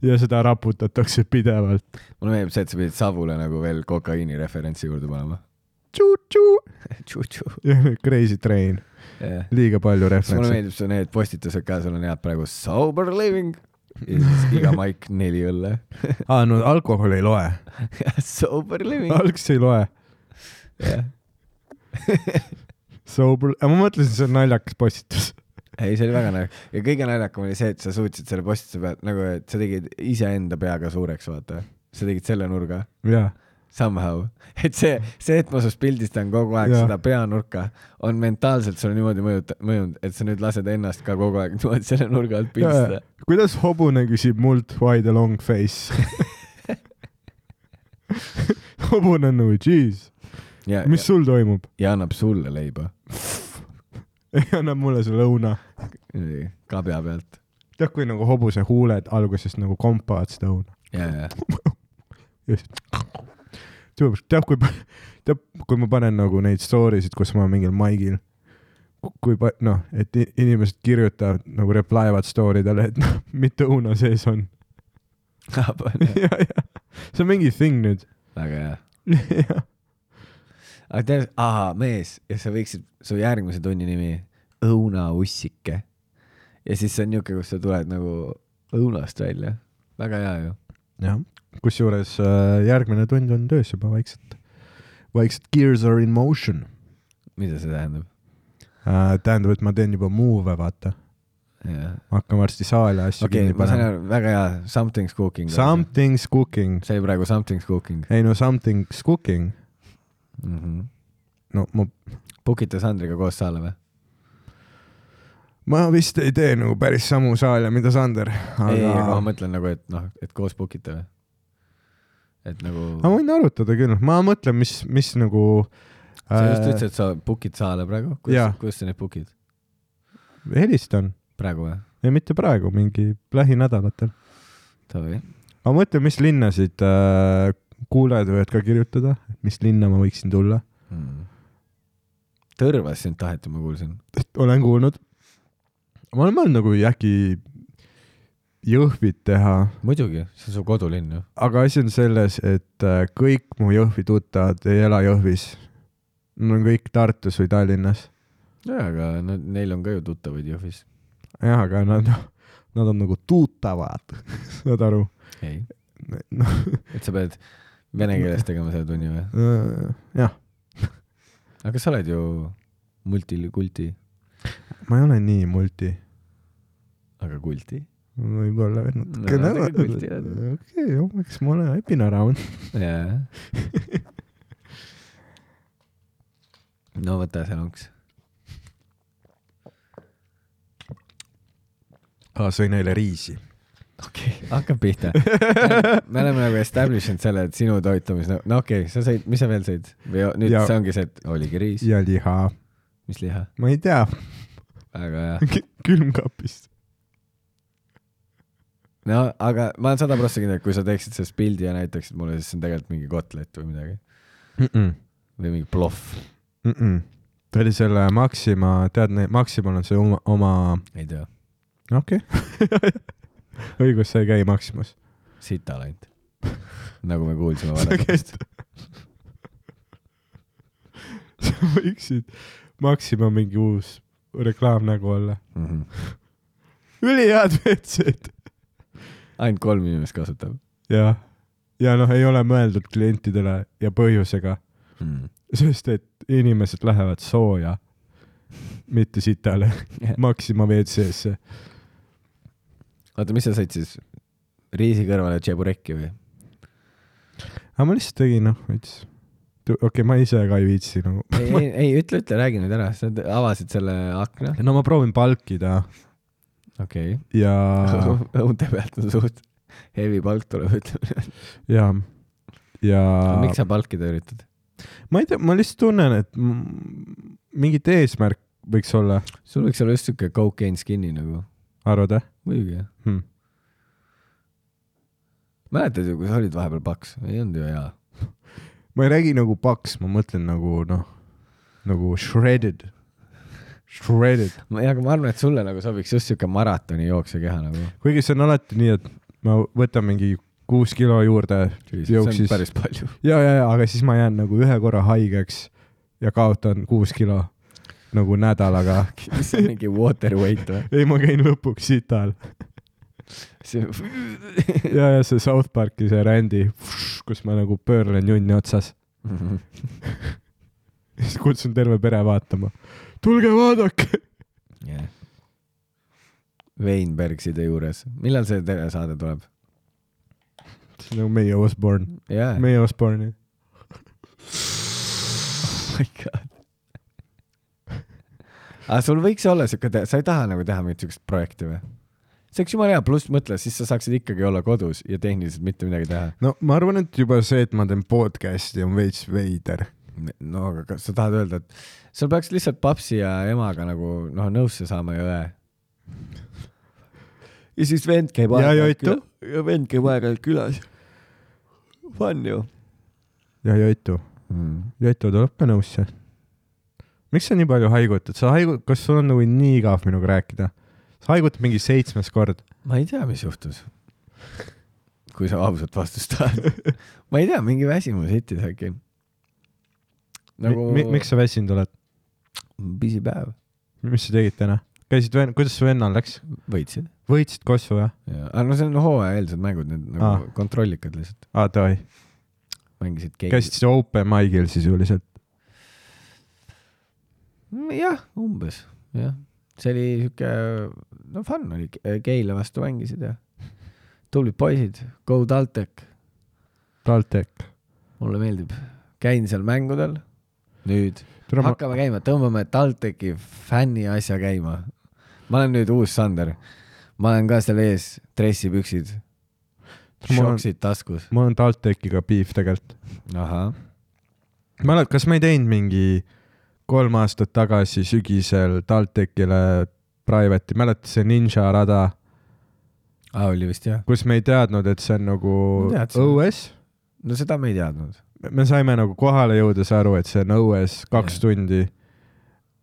Speaker 1: ja seda raputatakse pidevalt .
Speaker 2: mulle meeldib see , et sa pidid Savule nagu veel kokaiini referentsi juurde panema . Tšu-tšu .
Speaker 1: Crazy train ,
Speaker 2: jah .
Speaker 1: liiga palju
Speaker 2: siis mulle
Speaker 1: referentse .
Speaker 2: meeldib su need postitused ka , sul on head praegu sober living ja siis iga maik neli õlle .
Speaker 1: aa , no alkohol ei loe .
Speaker 2: *laughs* sober living ,
Speaker 1: algse ei loe .
Speaker 2: jah .
Speaker 1: Sober , ma mõtlesin , see on naljakas postitus . *laughs*
Speaker 2: ei , see oli väga naljakas ja kõige naljakam oli see , et sa suutsid selle postituse pealt nagu , et sa tegid iseenda peaga suureks , vaata . sa tegid selle nurga
Speaker 1: jaa ,
Speaker 2: somehow , *laughs* et see , see , et ma sinust pildistan kogu aeg
Speaker 1: Jaa.
Speaker 2: ja. seda peanurka , on mentaalselt sulle niimoodi mõjuta- , mõjunud , et sa nüüd lased ennast ka kogu aeg *laughs* niimoodi selle nurga alt pildistada .
Speaker 1: kuidas hobune küsib mult why the long
Speaker 2: *laughs*
Speaker 1: face ? hobune on nagu jeez ,
Speaker 2: ja ,
Speaker 1: mis sul toimub ?
Speaker 2: ja annab sulle leiba
Speaker 1: ei anna mulle see lõuna .
Speaker 2: niimoodi kabja pealt .
Speaker 1: tead , kui nagu hobuse huuled alguses nagu kompavad seda õuna .
Speaker 2: ja , *laughs* ja ,
Speaker 1: tead , kui , tead , kui ma panen nagu neid story sid , kus ma olen mingil maigil , kui pa- , noh , et i- inimesed kirjutavad nagu reply vad story dele , et noh , mitu õuna sees on . *laughs* ja , ja see on mingi thing nüüd . *laughs*
Speaker 2: väga hea .
Speaker 1: jah ,
Speaker 2: aga tead , aa , mees , ja sa võiksid , su järgmise tunni nimi , õunaussike . ja siis see on niuke , kus sa tuled nagu õunast välja . väga hea ju .
Speaker 1: jah . kusjuures äh, järgmine tund on töös juba vaikselt , vaikselt gears are in motion
Speaker 2: mida see tähendab ?
Speaker 1: äh, . tähendab , et ma teen juba move'e , vaata .
Speaker 2: jaa .
Speaker 1: ma hakkan varsti saale asju
Speaker 2: okei
Speaker 1: kinni
Speaker 2: okay, , ma sain
Speaker 1: panema .
Speaker 2: aru , väga hea , something's cooking .
Speaker 1: Something's cooking .
Speaker 2: see oli praegu something's cooking
Speaker 1: ei no something's cooking .
Speaker 2: mm . -hmm.
Speaker 1: no ma ,
Speaker 2: Book ite Sandriga koos saale või ?
Speaker 1: ma vist ei tee nagu päris samu saale , mida Sander ,
Speaker 2: ei , aga ma
Speaker 1: aga
Speaker 2: mõtlen nagu , et noh , et koos book ite või ? et nagu
Speaker 1: ma võin arutada küll , ma mõtlen , mis , mis nagu
Speaker 2: sa just
Speaker 1: äh,
Speaker 2: ütlesid , et sa book'id saale praegu ,
Speaker 1: jaa.
Speaker 2: kuidas , kuidas sa neid book'id
Speaker 1: helistan ,
Speaker 2: praegu või ?
Speaker 1: ei mitte praegu , mingi lähinädalatel .
Speaker 2: Davai .
Speaker 1: ma mõtlen , mis linnasid äh, kuulajad võivad ka kirjutada , mis linna ma võiksin tulla ,
Speaker 2: mm. . Tõrvas sind taheti , ma kuulsin .
Speaker 1: olen kuulnud . ma olen mõelnud nagu äkki Jõhvit teha
Speaker 2: muidugi , see on su kodulinn ju .
Speaker 1: aga asi on selles , et äh, kõik mu Jõhvi tuttavad ei ela Jõhvis . Nad on kõik Tartus või Tallinnas .
Speaker 2: jaa , aga no neil on ka ju tuttavaid Jõhvis .
Speaker 1: jah , aga nad , nad on nagu tuttavad , *laughs* saad aru ?
Speaker 2: ei ,
Speaker 1: noh ,
Speaker 2: et sa pead vene keeles tegema selle tunni või ?
Speaker 1: Äh, jah ,
Speaker 2: aga sa oled ju multikulti ,
Speaker 1: ma ei ole nii multi ,
Speaker 2: aga kulti ?
Speaker 1: võib-olla veel
Speaker 2: No, aga kulti
Speaker 1: natukene .
Speaker 2: oled.
Speaker 1: okei , eks ma olen happy around .
Speaker 2: jaa . no võta see lonks .
Speaker 1: sõin eile Ah, riisi .
Speaker 2: okei okay. , hakkab pihta . me oleme nagu establish inud selle , et sinu toitumis , no okei okay, , sa sõid , mis sa veel sõid või o- nüüd
Speaker 1: Ja-
Speaker 2: ja. see ongi see , et oligi riis ,
Speaker 1: ja liha ,
Speaker 2: mis liha ,
Speaker 1: ma ei tea , *laughs*
Speaker 2: väga hea .
Speaker 1: külmkapist .
Speaker 2: no aga ma olen sada prossa kindel , et kui sa teeksid sellest pildi ja näitaksid mulle , siis see on tegelikult mingi kotlet või midagi või mingi plahv ,
Speaker 1: ta oli selle Maxima , tead , Maximal on see oma, oma... ,
Speaker 2: ei tea ,
Speaker 1: okei *laughs* okay. . õigus , sa ei käi Maximas .
Speaker 2: sita läinud . *laughs* nagu me kuulsime
Speaker 1: *laughs*
Speaker 2: varem .
Speaker 1: sa võiksid Maxima mingi uus reklaamnägu olla .
Speaker 2: Mm -hmm.
Speaker 1: ülihead WC-d .
Speaker 2: ainult kolm inimest kasutab
Speaker 1: ja , ja noh , ei ole mõeldud klientidele ja põhjusega ,
Speaker 2: mm. .
Speaker 1: sest et inimesed lähevad sooja , mitte sitale Maxima WC-sse .
Speaker 2: oota , mis sa said siis ? riisi kõrvale tšeburekki või ?
Speaker 1: aga ma lihtsalt tegin noh , veits . okei okay, , ma ise ka ei viitsi nagu .
Speaker 2: ei , ei , ei ütle , ütle , räägi nüüd ära , sa t- avasid selle akna ,
Speaker 1: no ma proovin palkida
Speaker 2: *laughs* okei
Speaker 1: ja *laughs*
Speaker 2: okay. . õunte pealt on suht heavy palk tuleb , ütleme .
Speaker 1: ja , ja .
Speaker 2: miks sa palkida üritad ?
Speaker 1: ma ei tea , ma lihtsalt tunnen , et m- mingit eesmärk võiks olla ,
Speaker 2: sul võiks olla just siuke cocaine skin'i nagu ,
Speaker 1: arvad või
Speaker 2: muidugi .
Speaker 1: hmm. ?
Speaker 2: mäletad ju , kui sa olid vahepeal paks , ei olnud ju hea .
Speaker 1: ma ei räägi nagu paks , ma mõtlen nagu noh , nagu shredded , shredded ,
Speaker 2: ma , aga ma arvan , et sulle nagu sobiks just siuke maratoni jooksja keha nagu .
Speaker 1: kuigi see on alati nii , et ma võtan mingi kuus kilo juurde
Speaker 2: see on
Speaker 1: Jooksis.
Speaker 2: päris palju .
Speaker 1: ja , ja , ja aga siis ma jään nagu ühe korra haigeks ja kaotan kuus kilo nagu nädalaga .
Speaker 2: mis see on mingi water weight või ?
Speaker 1: *laughs* ei , ma käin lõpuks sital
Speaker 2: see ,
Speaker 1: ja , ja see South Parki see Randy , kus ma nagu pöörlen junni otsas , *laughs* siis kutsun terve pere vaatama . tulge vaadake .
Speaker 2: *laughs* jah . Veinbergside juures , millal see telesaade tuleb ?
Speaker 1: see on nagu meie Osborne ,
Speaker 2: jaa .
Speaker 1: meie Osborne'i .
Speaker 2: my god . aga Ah, sul võiks olla siuke , sa ei taha nagu teha mingit siukest projekti või ? see oleks jumala hea , pluss mõtle , siis sa saaksid ikkagi olla kodus ja tehniliselt mitte midagi teha .
Speaker 1: no ma arvan , et juba see , et ma teen podcast'i on veits veider .
Speaker 2: no aga kas sa tahad öelda , et sul peaks lihtsalt papsi ja emaga nagu noh , nõusse saama ja õe . ja siis vend käib
Speaker 1: Ja joitu. .
Speaker 2: ja vend käib aeg-ajalt külas . Fun ju
Speaker 1: ja Joitu ,
Speaker 2: mm. .
Speaker 1: Joitu tuleb ka nõusse . miks sa nii palju haigutad , sa haigu- , kas sul on nagu nii igav minuga rääkida ? sa haigutad mingi seitsmes kord .
Speaker 2: ma ei tea , mis juhtus . kui sa ausat vastust *laughs* tahad . ma ei tea , mingi väsimus hittis äkki .
Speaker 1: Nagu... Mi, mi, miks sa väsinud oled ?
Speaker 2: pisipäev .
Speaker 1: mis sa tegid täna ? käisid ven- , kuidas su vennal läks ?
Speaker 2: võitsid ?
Speaker 1: võitsid Kossu jah ?
Speaker 2: jaa , aga no see on hooajaeelsed mängud , need nagu ah.
Speaker 1: Aa.
Speaker 2: kontrollikad lihtsalt .
Speaker 1: aa , Ah, davai .
Speaker 2: mängisid game .
Speaker 1: käisid siis open mic'il sisuliselt ?
Speaker 2: Mm, jah , umbes , jah . see oli siuke , no fun oli , Keila vastu mängisid ja tublid poisid , Go TalTech ,
Speaker 1: TalTech .
Speaker 2: mulle meeldib . käin seal mängudel . nüüd
Speaker 1: tere , ma ,
Speaker 2: hakkame käima , tõmbame TalTechi fänni asja käima . ma olen nüüd uus Sander . ma olen ka seal ees , dressipüksid ,
Speaker 1: Ma olen-
Speaker 2: šoksid taskus .
Speaker 1: mul on TalTechiga beef tegelikult .
Speaker 2: ahah ,
Speaker 1: mäletad , kas ma ei teinud mingi kolm aastat tagasi sügisel TalTechile private'i , mäletad see ninja rada ,
Speaker 2: aa Ah, oli vist jah ?
Speaker 1: kus me ei teadnud , et see on nagu
Speaker 2: No tead, see-
Speaker 1: õues .
Speaker 2: no seda me ei teadnud .
Speaker 1: me saime nagu kohale jõudes aru , et see on õues kaks
Speaker 2: Jah.
Speaker 1: yeah. tundi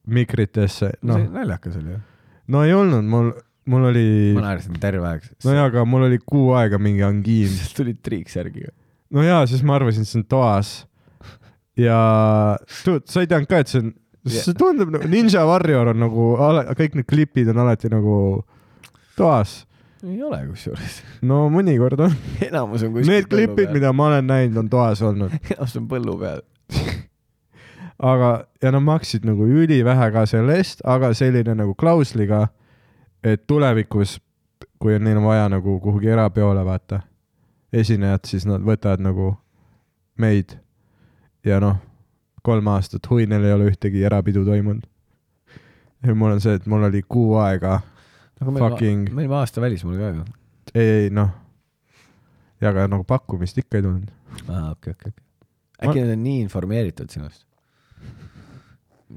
Speaker 1: mikritesse ,
Speaker 2: no see
Speaker 1: noh ,
Speaker 2: naljakas oli ju .
Speaker 1: no ei olnud , mul , mul oli ,
Speaker 2: ma naersin terve aeg .
Speaker 1: no jaa , aga mul oli kuu aega mingi angiin .
Speaker 2: siis tulid triiksärgiga .
Speaker 1: no jaa , siis ma arvasin , et see on toas . ja tu- sa ei teadnud ka , et see on , see
Speaker 2: Jah.
Speaker 1: tundub nagu Ninja Warrior on nagu , kõik need klipid on alati nagu toas .
Speaker 2: ei ole kusjuures .
Speaker 1: no mõnikord on .
Speaker 2: *laughs* enamus on kuskil
Speaker 1: Need klipid , mida ma olen näinud , on toas olnud ,
Speaker 2: *laughs* enamus on põllu peal .
Speaker 1: aga , ja nad maksid nagu ülivähe ka selle eest , aga selline nagu klausliga , et tulevikus , kui on neil vaja nagu kuhugi erapeole vaata , esinejad , siis nad võtavad nagu meid ja noh , kolm aastat , hui , neil ei ole ühtegi erapidu toimunud . ja mul on see , et mul oli kuu aega ,
Speaker 2: aga me
Speaker 1: Fucking-
Speaker 2: olime , me olime aasta välismaal ka ju .
Speaker 1: ei , ei noh , ja ka nagu pakkumist ikka ei tulnud .
Speaker 2: aa , okei , okei , okei .
Speaker 1: Ma-
Speaker 2: äkki nad on nii informeeritud sinust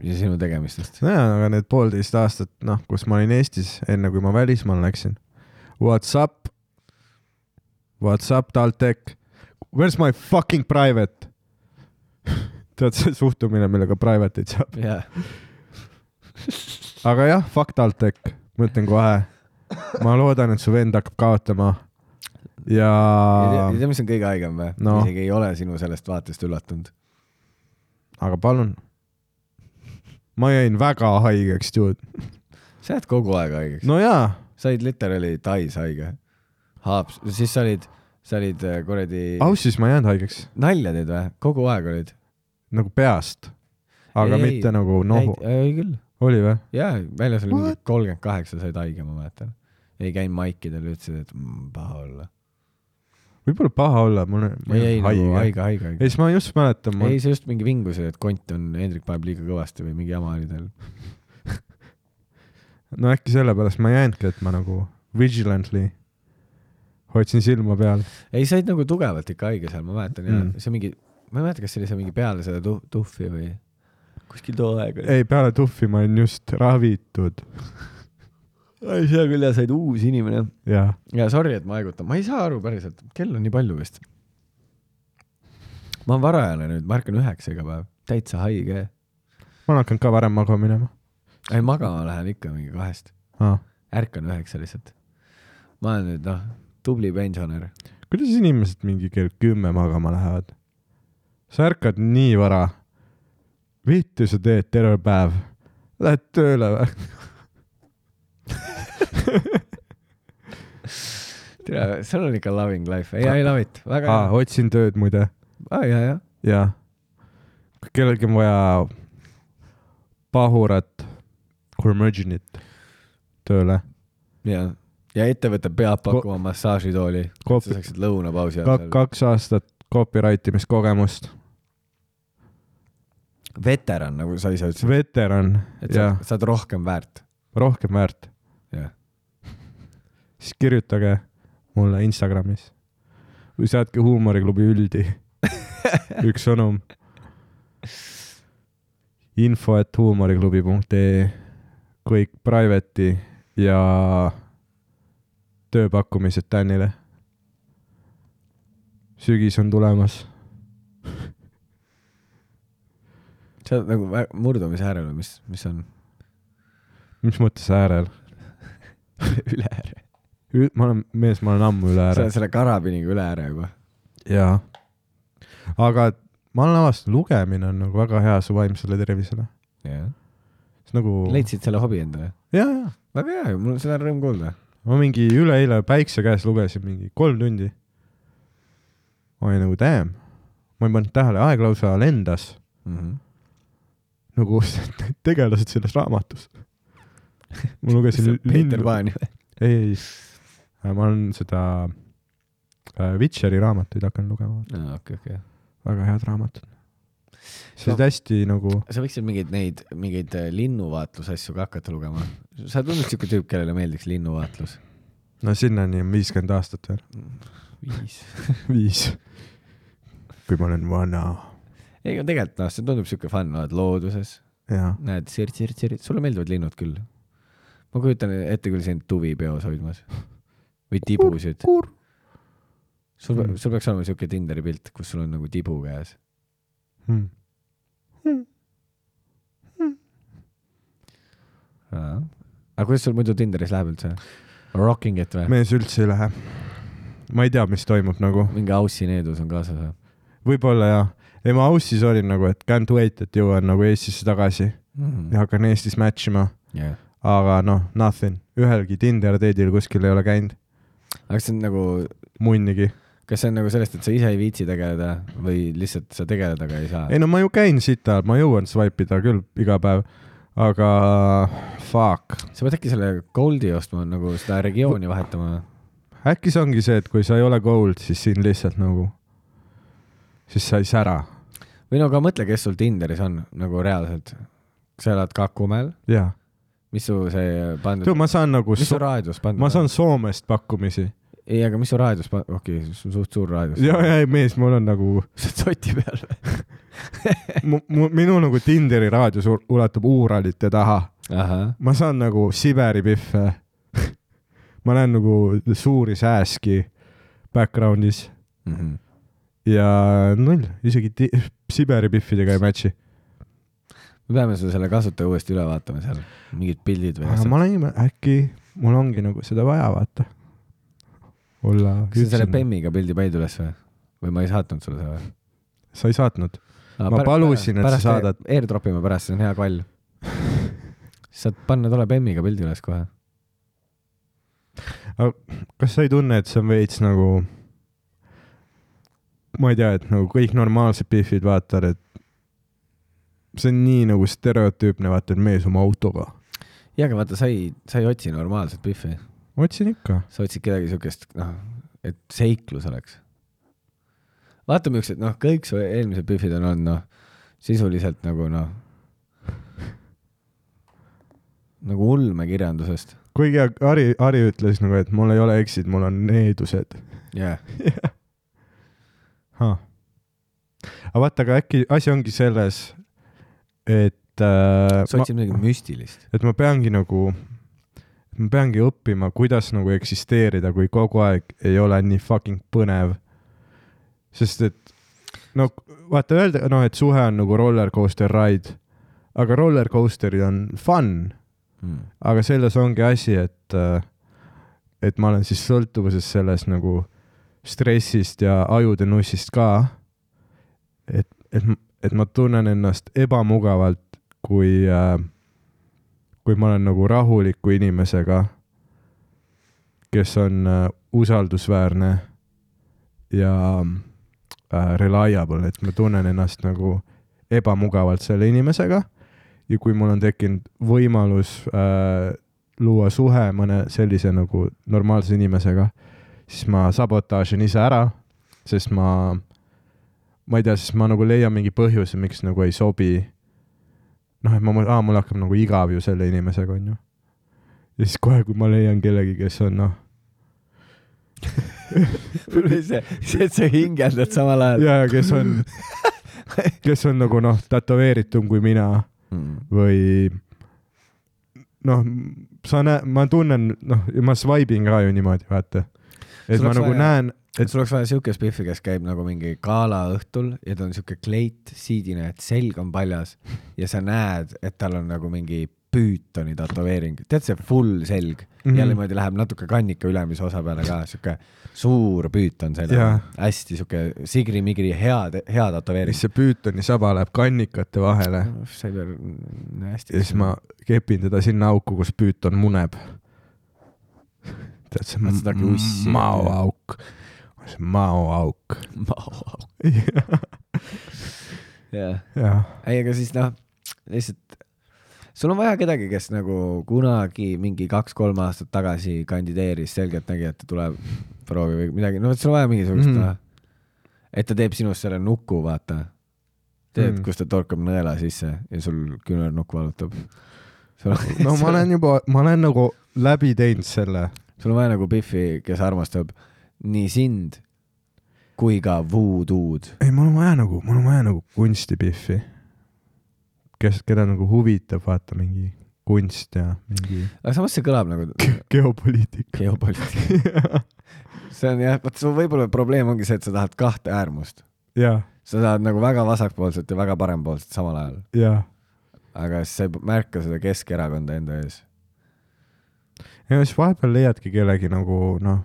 Speaker 2: ja sinu tegemistest ?
Speaker 1: nojah , aga need poolteist aastat , noh , kus ma olin Eestis , enne kui ma välismaale läksin , Whatsapp , What's up , TalTech ? Where's my fucking private ? *laughs* tead , see suhtumine , millega private'id saab .
Speaker 2: jaa .
Speaker 1: aga jah , fuck TalTech , ma ütlen kohe . ma loodan , et su vend hakkab kaotama . ja
Speaker 2: ja , tead , mis on kõige haigem või
Speaker 1: No.
Speaker 2: no. ? isegi ei ole sinu sellest vaatest üllatunud .
Speaker 1: aga palun . ma jäin väga haigeks , dude .
Speaker 2: sa jääd kogu aeg haigeks no. .
Speaker 1: no jaa ,
Speaker 2: sa olid literaali Tais haige . Haaps , siis sa olid , sa olid äh, kuradi oh. ,
Speaker 1: aussis ma ei jäänud haigeks ,
Speaker 2: nalja teed või ? kogu aeg olid ?
Speaker 1: nagu peast . aga
Speaker 2: Ei,
Speaker 1: ei, mitte nagu nohu ,
Speaker 2: ei küll .
Speaker 1: oli või ?
Speaker 2: jaa , väljas oli mingi kolmkümmend kaheksa said haige , ma mäletan . ei käinud maikidel , ütlesid , et mm, paha olla .
Speaker 1: võib-olla paha olla , mul , ma
Speaker 2: ei ,
Speaker 1: ei
Speaker 2: ei nagu
Speaker 1: olnud haige .
Speaker 2: haige , haige , haige .
Speaker 1: ei , siis ma just mäletan , ma
Speaker 2: ei , see just mingi vingus oli , et kont on , Hendrik paneb liiga kõvasti või mingi jama oli tal .
Speaker 1: no äkki sellepärast ma ei jäänudki , et ma nagu vigilantly hoidsin silma peal .
Speaker 2: ei , said nagu tugevalt ikka haige seal , ma mäletan mm.
Speaker 1: Mm.
Speaker 2: ja see mingi , ma ei mäleta , kas see oli seal mingi peale seda tu- , tuhvi või kuskil too aeg oli .
Speaker 1: ei , peale tuhvi ma olin just ravitud
Speaker 2: ei , seal küll jah , said uus inimene .
Speaker 1: ja
Speaker 2: ja sorry , et ma aegutan , ma ei saa aru päriselt , kell on nii palju vist . ma olen varajane nüüd , ma ärkan üheksa iga päev , täitsa haige .
Speaker 1: ma olen hakanud ka varem magama minema
Speaker 2: ei , magama lähen ikka mingi kahest ,
Speaker 1: ah. .
Speaker 2: ärkan üheksa lihtsalt . ma olen nüüd noh , tubli pensionär .
Speaker 1: kuidas inimesed mingi kell kümme magama lähevad ? sa ärkad nii vara . vittu sa teed terve päev . Lähed tööle või ? *laughs*
Speaker 2: tere , sul on ikka loving life , ei , I love it , väga
Speaker 1: Ah,
Speaker 2: hea . Ah,
Speaker 1: otsin tööd muide
Speaker 2: aa , ja , ja .
Speaker 1: ja kui kellelgi on vaja pahurat , kurmõdžinit tööle ,
Speaker 2: ja , ja ettevõte peab
Speaker 1: Ko-
Speaker 2: pakkuma massaažitooli , et
Speaker 1: Koopi-
Speaker 2: sa saaksid lõunapausi
Speaker 1: Ka-
Speaker 2: ajal seal .
Speaker 1: kaks aastat copyright imiskogemust ,
Speaker 2: veteran , nagu sa ise ütlesid ,
Speaker 1: veteran
Speaker 2: et sa
Speaker 1: ja
Speaker 2: sa oled rohkem väärt .
Speaker 1: rohkem väärt ,
Speaker 2: jah ,
Speaker 1: *laughs* siis kirjutage mulle Instagramis või saatke Huumoriklubi
Speaker 2: *laughs*
Speaker 1: üldi üks sõnum . info et huumoriklubi.ee , kõik private'i ja tööpakkumised Tänile . sügis on tulemas ,
Speaker 2: sa oled nagu vä- murdumise äärel või mis , mis on
Speaker 1: mis mõttes äärel ?
Speaker 2: *laughs* üle ääre ?
Speaker 1: ma olen , mees , ma olen ammu üle
Speaker 2: sa
Speaker 1: ääre
Speaker 2: oled . selle karabiniga üle ääre juba .
Speaker 1: jaa . aga ma olen avastanud , lugemine on nagu väga hea su vaimsele tervisele .
Speaker 2: jah ,
Speaker 1: see nagu .
Speaker 2: leidsid selle hobi endale ?
Speaker 1: jaa , jaa .
Speaker 2: väga hea , mul seda on rõõm kuulda .
Speaker 1: ma mingi üleeile päikse käes lugesin mingi kolm tundi . ma olin nagu damn , ma ei pannud tähele , aeg lausa lendas
Speaker 2: Mhm.
Speaker 1: nagu *laughs* tegelased selles raamatus . ma lugesin
Speaker 2: Peeter
Speaker 1: lindu ,
Speaker 2: Paan ju .
Speaker 1: ei , ei , ma olen seda äh, Witcheri raamatuid hakanud lugema ,
Speaker 2: aa , okei , okei .
Speaker 1: väga head raamatud .
Speaker 2: No.
Speaker 1: sellised hästi nagu
Speaker 2: sa võiksid mingeid neid , mingeid äh, linnuvaatlusasju ka hakata lugema . sa tundud siuke tüüp , kellele meeldiks linnuvaatlus ?
Speaker 1: no sinnani on viiskümmend aastat veel .
Speaker 2: viis .
Speaker 1: viis . kui ma olen vana .
Speaker 2: ei , aga tegelikult noh , see tundub siuke fun , oled looduses ,
Speaker 1: jaa .
Speaker 2: näed sirts-sirts-sirts , sulle meeldivad linnud küll . ma kujutan ette küll sind tuvi peos hoidmas või tibusid . sul ,
Speaker 1: Mm.
Speaker 2: sul peaks olema siuke Tinderi pilt , kus sul on nagu tibu käes .
Speaker 1: Hmm.
Speaker 2: aga kuidas sul muidu Tinderis läheb üldse ? Rocking it või ?
Speaker 1: mees üldse ei lähe . ma ei tea , mis toimub nagu ,
Speaker 2: mingi aussi needus on kaasas või
Speaker 1: võib-olla jaa . ei , ma Aussis olin nagu , et can't wait , et jõuan nagu Eestisse tagasi
Speaker 2: mm
Speaker 1: ja ? hakkan Eestis match ima ,
Speaker 2: jah .
Speaker 1: aga noh , nothing , ühelgi Tinder date'il kuskil ei ole käinud ,
Speaker 2: aga kas see on nagu ,
Speaker 1: munnigi .
Speaker 2: kas see on nagu sellest , et sa ise ei viitsi tegeleda või lihtsalt sa tegeleda ka ei saa ?
Speaker 1: ei no ma ju käin sita , ma jõuan swipe ida küll iga päev , aga fuck .
Speaker 2: sa pead äkki selle Goldi ostma , nagu seda regiooni vahetama
Speaker 1: äkki see ongi see , et kui sa ei ole gold , siis siin lihtsalt nagu , siis sa ei sära .
Speaker 2: või no aga mõtle , kes sul Tinderis on nagu reaalselt . sa elad Kakumäel ,
Speaker 1: jaa .
Speaker 2: mis su see pandud
Speaker 1: tead ,, ma saan nagu
Speaker 2: mis , su raadios pandud
Speaker 1: ma saan Soomest pakkumisi .
Speaker 2: on ? ei , aga mis su raadios , okei , sul on suht suur raadios .
Speaker 1: ja , ja ei mees , mul on nagu ,
Speaker 2: *laughs* sa oled soti peal või ?
Speaker 1: *laughs* minu nagu Tinderi raadios ul- ulatub Uuralite taha .
Speaker 2: ahah ,
Speaker 1: ma saan *laughs* nagu Siberi pihve . ma näen nagu suuri sääski . background'is
Speaker 2: mm . -hmm.
Speaker 1: ja null , isegi ti- Siberi piffidega ei match'i .
Speaker 2: me peame su selle kasutaja uuesti üle vaatama seal , mingid pildid või
Speaker 1: aga
Speaker 2: asjad
Speaker 1: ma . olen , äkki mul ongi nagu seda vaja , vaata . olla .
Speaker 2: kas sa selle Bemmiga pildi panid üles või ? või ma ei saatnud sulle seda või ?
Speaker 1: sa ei saatnud ? Ma palusin, et sa saadad. .
Speaker 2: Airdrop ime pärast , see on hea *laughs* kall . saad panna tolle Bemmiga pildi üles kohe .
Speaker 1: kas sa ei tunne , et see on veits nagu , ma ei tea , et nagu kõik normaalsed Biffid vaatavad , et see on nii nagu stereotüüpne , vaata , et mees oma autoga .
Speaker 2: jaa , aga vaata , sa ei , sa ei otsi normaalset Biffi ,
Speaker 1: otsin ikka .
Speaker 2: sa otsid kedagi siukest , noh , et seiklus oleks . vaata , millised , noh , kõik su eelmised Biffid on olnud , noh , sisuliselt nagu , noh , nagu ulmekirjandusest .
Speaker 1: kuigi Ari , Ari ütles nagu , et mul ei ole eksid , mul on needused .
Speaker 2: jah yeah. ,
Speaker 1: aga vaata , aga äkki asi ongi selles , et äh,
Speaker 2: sa otsid midagi müstilist .
Speaker 1: et ma peangi nagu , ma peangi õppima , kuidas nagu eksisteerida , kui kogu aeg ei ole nii fucking põnev . sest et no vaata öelda , noh , et suhe on nagu roller coaster ride , aga roller coaster'id on fun ,
Speaker 2: Mm.
Speaker 1: aga selles ongi asi , et , et ma olen siis sõltuvuses selles nagu stressist ja ajude nussist ka . et , et , et ma tunnen ennast ebamugavalt , kui , kui ma olen nagu rahuliku inimesega , kes on äh, usaldusväärne ja äh, reliable , et ma tunnen ennast nagu ebamugavalt selle inimesega ja kui mul on tekkinud võimalus äh, luua suhe mõne sellise nagu normaalse inimesega , siis ma sabotaažin ise ära , sest ma , ma ei tea , siis ma nagu leian mingi põhjuse , miks nagu ei sobi . noh , et ma , aa , mul hakkab nagu igav ju selle inimesega , onju . ja siis kohe , kui ma leian kellegi , kes on noh ,
Speaker 2: *laughs* see , see , et sa hingeldad samal ajal .
Speaker 1: ja , ja kes on ,
Speaker 2: *laughs*
Speaker 1: kes on nagu noh , tätoveeritum kui mina
Speaker 2: mm. .
Speaker 1: või noh , sa näed , ma tunnen , noh , ma swipe in ka ju niimoodi , vaata . et
Speaker 2: Sul
Speaker 1: ma
Speaker 2: oleks
Speaker 1: nagu
Speaker 2: vaja-
Speaker 1: näen ,
Speaker 2: et sul oleks vaja siukest Biffi , kes käib nagu mingi galaõhtul ja ta on siuke kleit , siidine , et selg on paljas ja sa näed , et tal on nagu mingi püütoni tätoveering , tead see full selg mm
Speaker 1: Mhm.
Speaker 2: -hmm. ja niimoodi läheb natuke kannika ülemise osa peale ka siuke suur püüton seljaga
Speaker 1: Jaa. ,
Speaker 2: hästi siuke sigri-migri hea , hea tätoveering .
Speaker 1: siis see püütoni saba läheb kannikate vahele
Speaker 2: see ei pea , hästi .
Speaker 1: ja siis ma kepin teda sinna auku , kus püüton muneb . tead , see
Speaker 2: Vaat seda hakkab ussi.
Speaker 1: on maoauk , see on
Speaker 2: *laughs*
Speaker 1: maoauk .
Speaker 2: jah
Speaker 1: jah ,
Speaker 2: ei , aga siis noh , lihtsalt sul on vaja kedagi , kes nagu kunagi mingi kaks-kolm aastat tagasi kandideeris , selgelt nägi , et ta tuleb , proovib või midagi , no vot sul on vaja mingisugust
Speaker 1: Mhm.
Speaker 2: mm. , et ta teeb sinust selle nuku , vaata . tead
Speaker 1: Mhm.
Speaker 2: mm. , kus ta torkab nõela sisse ja sul küünarnukk valutab . sul on,
Speaker 1: no ma olen juba , ma olen nagu läbi teinud selle .
Speaker 2: *laughs* sul on vaja nagu Biffi , kes armastab nii sind kui ka voodood .
Speaker 1: ei , mul on vaja nagu , mul on vaja nagu kunstipihvi , kes , keda nagu huvitab , vaata mingi kunst ja mingi
Speaker 2: aga samas see kõlab nagu *laughs*
Speaker 1: geopoliitika .
Speaker 2: geopoliitika . see on jah , vot sul võib-olla probleem ongi see , et sa tahad kahte äärmust .
Speaker 1: *laughs* ja ,
Speaker 2: sa tahad nagu väga vasakpoolset ja väga parempoolset samal ajal ,
Speaker 1: ja ,
Speaker 2: aga siis sa ei märka seda Keskerakonda enda ees .
Speaker 1: ja siis vahepeal leiadki kellegi nagu noh ,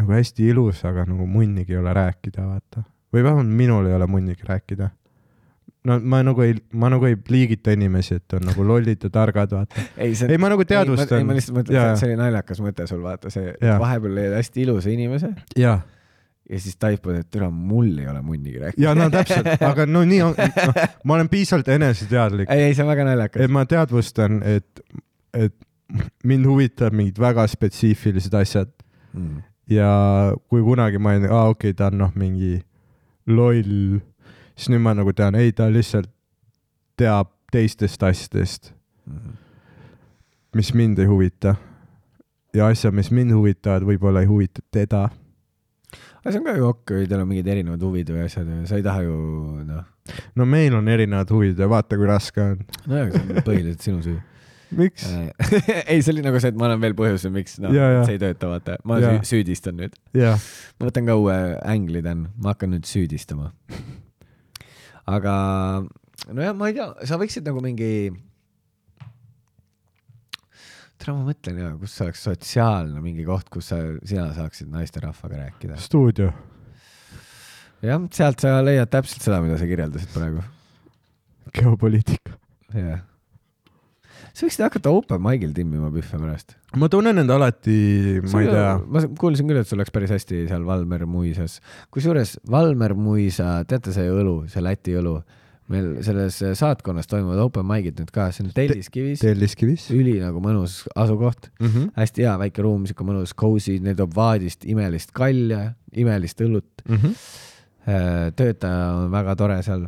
Speaker 1: nagu hästi ilus , aga nagu munnigi ei ole rääkida , vaata . või vähemalt minul ei ole munnigi rääkida . no ma nagu ei , ma nagu ei liigita inimesi , et on nagu lollid ja targad , vaata .
Speaker 2: ei , see
Speaker 1: ei , ma nagu
Speaker 2: ei ,
Speaker 1: teadvustan
Speaker 2: ma . lihtsalt mõtlen ,
Speaker 1: Jaa.
Speaker 2: see oli naljakas mõte sul vaata see ,
Speaker 1: Jaa.
Speaker 2: vahepeal leiad hästi ilusa inimese
Speaker 1: jaa
Speaker 2: ja siis taipad , et türa , mul ei ole munnigi rääkida .
Speaker 1: ja no täpselt , aga no nii on no, , ma olen piisavalt eneseteadlik ,
Speaker 2: ei , ei , see on väga naljakas .
Speaker 1: et ma teadvustan , et , et mind huvitab mingid väga spetsiifilised asjad
Speaker 2: Mm.
Speaker 1: ja kui kunagi ma olin , aa okei okay, , ta on noh , mingi loll , siis nüüd ma nagu tean , ei ta lihtsalt teab teistest asjadest ,
Speaker 2: Mm.
Speaker 1: mis mind ei huvita . ja asjad , mis mind huvitavad , võib-olla ei huvita teda .
Speaker 2: aga see on ka ju okk , kui teil on mingid erinevad huvid või asjad , sa ei taha ju noh ,
Speaker 1: no meil on erinevad huvid ja vaata , kui raske on .
Speaker 2: nojah , see on põhiliselt sinu süü .
Speaker 1: miks ?
Speaker 2: *laughs* ei , see oli nagu see , et ma annan veel põhjuse , miks no,
Speaker 1: Jaa, jaa.
Speaker 2: see ei tööta , vaata . ma
Speaker 1: Jaa.
Speaker 2: yeah. süüdistan nüüd .
Speaker 1: jah ,
Speaker 2: ma võtan ka uue ängli , Dan . ma hakkan nüüd süüdistama . aga nojah , ma ei tea , sa võiksid nagu mingi . täna ma mõtlen ja kus oleks sotsiaalne mingi koht , kus sa , sina saaksid naisterahvaga rääkida .
Speaker 1: stuudio .
Speaker 2: jah , sealt sa leiad täpselt seda , mida sa kirjeldasid praegu .
Speaker 1: geopoliitika .
Speaker 2: jah . sa võiksid hakata open mic'il timmima pühve pärast .
Speaker 1: ma tunnen end alati , ma ei tea ,
Speaker 2: ma kuulsin küll , et sul läks päris hästi seal Valmer Muisas . kusjuures Valmer Muisa , teate see õlu , see Läti õlu , meil selles saatkonnas toimuvad open mic'id nüüd ka , see on Telliskivis ,
Speaker 1: Telliskivis
Speaker 2: üli nagu mõnus asukoht ,
Speaker 1: mm . -hmm.
Speaker 2: hästi hea väike ruum , sihuke mõnus cozy , neil toob vaadist imelist kalja , imelist õlut .
Speaker 1: Mm -hmm.
Speaker 2: töötaja on väga tore seal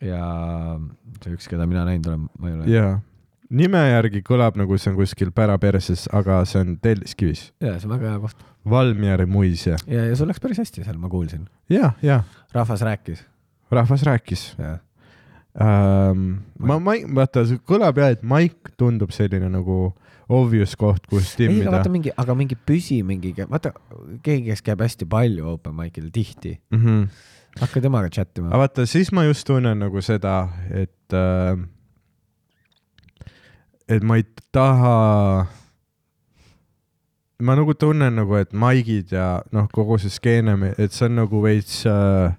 Speaker 2: ja see üks , keda mina näinud olen , ma ei ole .
Speaker 1: jaa , nime järgi kõlab nagu see on kuskil päraperses , aga see on Telliskivis .
Speaker 2: ja see on väga hea koht
Speaker 1: Valmjärv muise .
Speaker 2: ja , ja sul läks päris hästi seal , ma kuulsin ,
Speaker 1: ja , ja
Speaker 2: rahvas rääkis .
Speaker 1: rahvas rääkis
Speaker 2: jah ,
Speaker 1: ähm, . ma , ma , vaata , see kõlab jah , et maik tundub selline nagu obvious koht , kus
Speaker 2: ei , aga
Speaker 1: timmida
Speaker 2: vaata . mingi , aga mingi püsi mingi , vaata keegi , kes käib hästi palju open mic'il tihti ,
Speaker 1: Mm -hmm.
Speaker 2: hakka temaga chat
Speaker 1: aga
Speaker 2: ima .
Speaker 1: vaata , siis ma just tunnen nagu seda , et äh, , et ma ei taha , ma nagu tunnen nagu , et maigid ja noh , kogu see skeene , et see on nagu veits äh, ,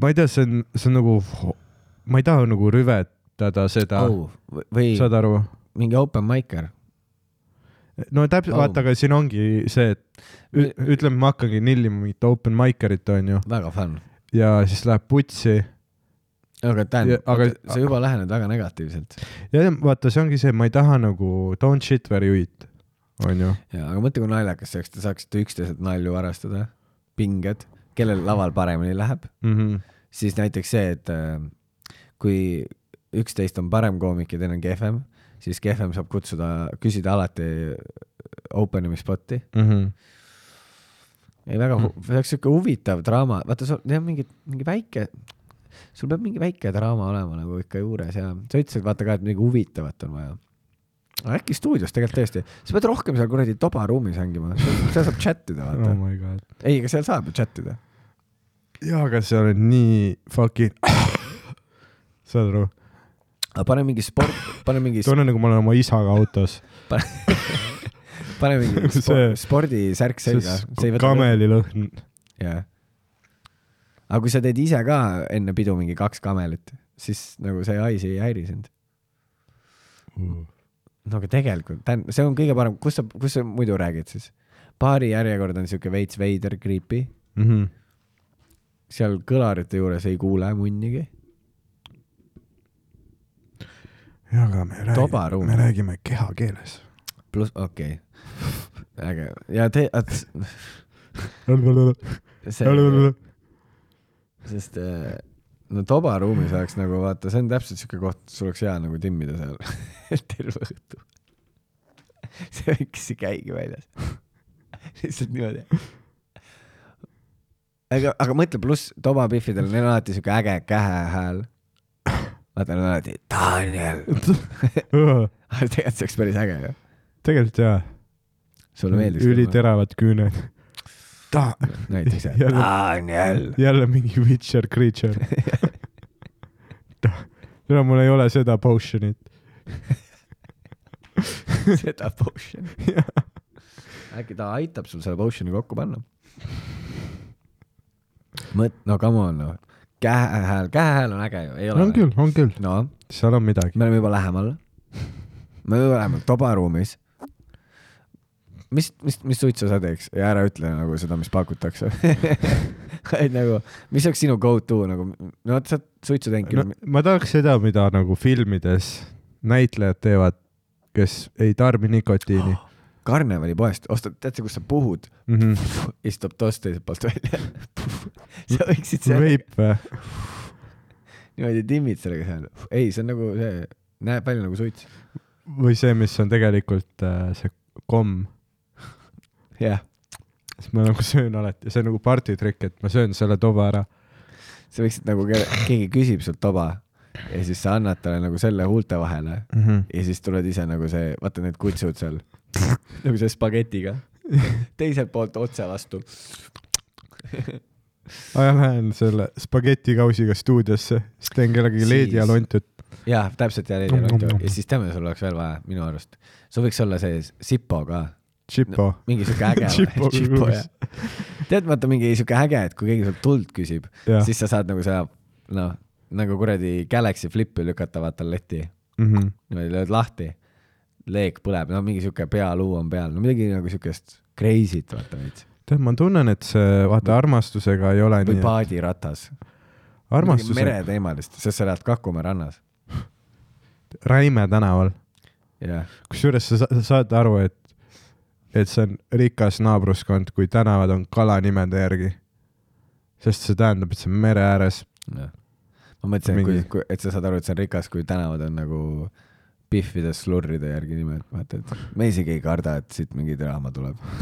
Speaker 1: ma ei tea , see on , see on nagu , ma ei taha nagu rüvetada seda oh. ,
Speaker 2: Oh, või Saad...
Speaker 1: saad aru ?
Speaker 2: mingi open mic'er ,
Speaker 1: no täpselt
Speaker 2: Au.
Speaker 1: oh. , vaata , aga siin ongi see , et ü- ütleme , ma hakkangi nillima mingit open mic'erit , onju ,
Speaker 2: väga fun .
Speaker 1: ja siis läheb putsi
Speaker 2: aga Dan
Speaker 1: Ja- , aga-
Speaker 2: sa juba lähened väga negatiivselt .
Speaker 1: ja ja vaata , see ongi see , ma ei taha nagu don't shit where you eat , onju .
Speaker 2: jaa , aga mõtle , kui naljakas see oleks , te saaksite üksteiselt nalju varastada , pinged , kellel laval paremini läheb ,
Speaker 1: Mhm,
Speaker 2: siis näiteks see , et äh, kui üks teist on parem koomik ja teine on kehvem , siis kehvem saab kutsuda , küsida alati open imispot'i
Speaker 1: mhm.
Speaker 2: ei , väga hu- ,
Speaker 1: Mm.
Speaker 2: see oleks siuke huvitav draama , vaata , sul jah , mingi , mingi väike , sul peab mingi väike draama olema nagu ikka juures ja sa ütlesid , vaata ka , et midagi huvitavat on vaja . aga äkki stuudios tegelikult tõesti , sa pead rohkem seal kuradi tobaruumis hängima , seal saab chat ida ,
Speaker 1: Oh
Speaker 2: vaata .
Speaker 1: my god .
Speaker 2: ei , aga seal saab ju chat ida .
Speaker 1: jaa , aga sa oled nii fucking , *laughs* saad aru ,
Speaker 2: aga pane mingi sport , pane mingi ,
Speaker 1: tunnen nagu ma olen oma isaga *laughs* autos ,
Speaker 2: pane mingi
Speaker 1: *laughs* see-
Speaker 2: spor- spordisärk selga .
Speaker 1: kamelilõhn .
Speaker 2: jah . aga kui sa teed ise ka enne pidu mingi kaks kamelit , siis nagu see hais ei häiri sind . no aga tegelikult , see on kõige parem , kus sa , kus sa muidu räägid siis ? baari järjekord on siuke veits veider , creepy ,
Speaker 1: Mhm.
Speaker 2: seal kõlarite juures ei kuule munnigi .
Speaker 1: jaa , aga me
Speaker 2: Tobaruum.
Speaker 1: räägime , me räägime kehakeeles .
Speaker 2: pluss , okei *laughs* okay. . äge ja te , see , sest äh, no tobaruumis oleks nagu vaata , see on täpselt siuke koht , sul oleks hea nagu timmida seal *laughs* terve õhtu . see võiks ju käigi väljas . *laughs* lihtsalt niimoodi . aga , aga mõtle , pluss tobapiffidel , neil on alati siuke äge kähehääl . vaata , neil on alati Daniel . tegelikult see oleks päris äge ju .
Speaker 1: *laughs* tegelikult jaa ,
Speaker 2: sulle meeldis .
Speaker 1: üliteravad küüned . ta , *laughs*
Speaker 2: näiteks jah.
Speaker 1: Jälle- *laughs*
Speaker 2: Daniel .
Speaker 1: jälle mingi Witcher
Speaker 2: *laughs*
Speaker 1: creature . no mul ei ole seda potion'it .
Speaker 2: seda potion'i . äkki ta aitab sul selle potion'i kokku panna ? mõt- , no come on noh . käehääl , käehääl on äge ju , ei ole
Speaker 1: on ? küll , on küll ,
Speaker 2: no ,
Speaker 1: seal on midagi .
Speaker 2: me oleme juba lähemal . me oleme juba lähemal , tobaruumis . mis , mis , mis suitsu sa teeks ja ära ütle nagu seda , mis pakutakse . *laughs* et nagu , mis oleks sinu go to nagu , no vot sa oled suitsu teinud
Speaker 1: No,
Speaker 2: küll no. ,
Speaker 1: ma tahaks seda , mida nagu filmides näitlejad teevad , kes ei tarbi nikotiini
Speaker 2: *gasps* karnevalipoest , ostad , tead sa , kus sa puhud ,
Speaker 1: mm . -hmm.
Speaker 2: istub toast teiselt poolt välja . *laughs* sa võiksid selle
Speaker 1: veip või ?
Speaker 2: niimoodi timmid sellega seal . ei , see on nagu see , näeb välja nagu suits .
Speaker 1: või see , mis on tegelikult äh, see komm ,
Speaker 2: jah ,
Speaker 1: siis ma nagu söön alati , see on nagu partitrikk , et ma söön selle toba ära .
Speaker 2: sa võiksid nagu , keegi küsib sult toba , ja siis sa annad talle nagu selle huulte vahele
Speaker 1: mm . -hmm.
Speaker 2: ja siis tuled ise nagu see , vaata need kutsud seal nagu see spagetiga teiselt poolt otse vastu .
Speaker 1: ma lähen selle spagetikausiga stuudiosse , siis teen kellelegi
Speaker 2: Siis-
Speaker 1: leedi ja lontud .
Speaker 2: jah , täpselt ja
Speaker 1: Nom,
Speaker 2: reedel on
Speaker 1: nom,
Speaker 2: ju
Speaker 1: nom.
Speaker 2: ja siis teame , sul oleks veel vaja minu arust , sul võiks olla see Sipo ka ,
Speaker 1: Chipo .
Speaker 2: mingi siuke
Speaker 1: *laughs*
Speaker 2: äge
Speaker 1: Chipo
Speaker 2: Chipo,
Speaker 1: klubis.
Speaker 2: jah. tead , vaata mingi siuke äge , et kui keegi sult tuld küsib ,
Speaker 1: jah .
Speaker 2: siis sa saad nagu seda noh , nagu kuradi Galaxy Flipi lükata vaata letti ,
Speaker 1: Mhm.
Speaker 2: niimoodi lööd lahti , leek põleb , no mingi siuke pealuu on peal , no midagi nagu siukest crazy't vaata veits
Speaker 1: tead , ma tunnen , et see , vaata , armastusega ei ole
Speaker 2: või
Speaker 1: nii .
Speaker 2: paadiratas .
Speaker 1: armastusega ,
Speaker 2: mereteemalist , sest sa elad Kakumäe rannas .
Speaker 1: Räime tänaval .
Speaker 2: jah ,
Speaker 1: kusjuures sa, sa sa saad aru , et , et see on rikas naabruskond , kui tänavad on kalanimede järgi . sest see tähendab , et see on mere ääres .
Speaker 2: jah . Noh. ma mõtlesin , et
Speaker 1: Mingi-
Speaker 2: kui , et sa saad aru , et see on rikas , kui tänavad on nagu pihvide slurride järgi nimed , vaata , et me isegi ei karda , et siit mingi draama tuleb . *laughs*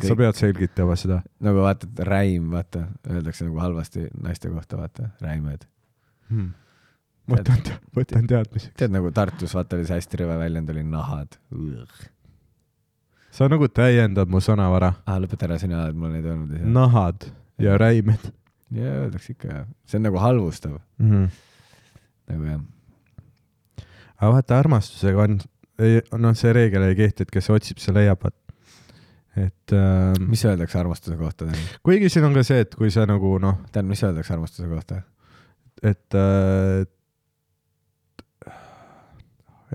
Speaker 1: sa
Speaker 2: Kõik-
Speaker 1: pead selgitama seda .
Speaker 2: nagu vaata , et räim , vaata , öeldakse nagu halvasti naiste kohta , vaata , räimed .
Speaker 1: võtan , võtan teadmiseks .
Speaker 2: Hmm. tead nagu Tartus , vaata , oli see hästi rõve väljend oli nahad .
Speaker 1: sa nagu täiendad mu sõnavara .
Speaker 2: ah , lõpeta ära , sina oled mul neid öelnud ei saa .
Speaker 1: nahad ja räimed
Speaker 2: jaa , öeldakse ikka , see on nagu halvustav ,
Speaker 1: mm . -hmm.
Speaker 2: nagu jah .
Speaker 1: aga vaata , armastusega on , noh , see reegel ei kehti , et kes otsib , see leiab , et , et ähm,
Speaker 2: mis öeldakse armastuse kohta , Tõnis ?
Speaker 1: kuigi siin on ka see , et kui sa nagu noh ,
Speaker 2: tead , mis öeldakse armastuse kohta ?
Speaker 1: et äh, ,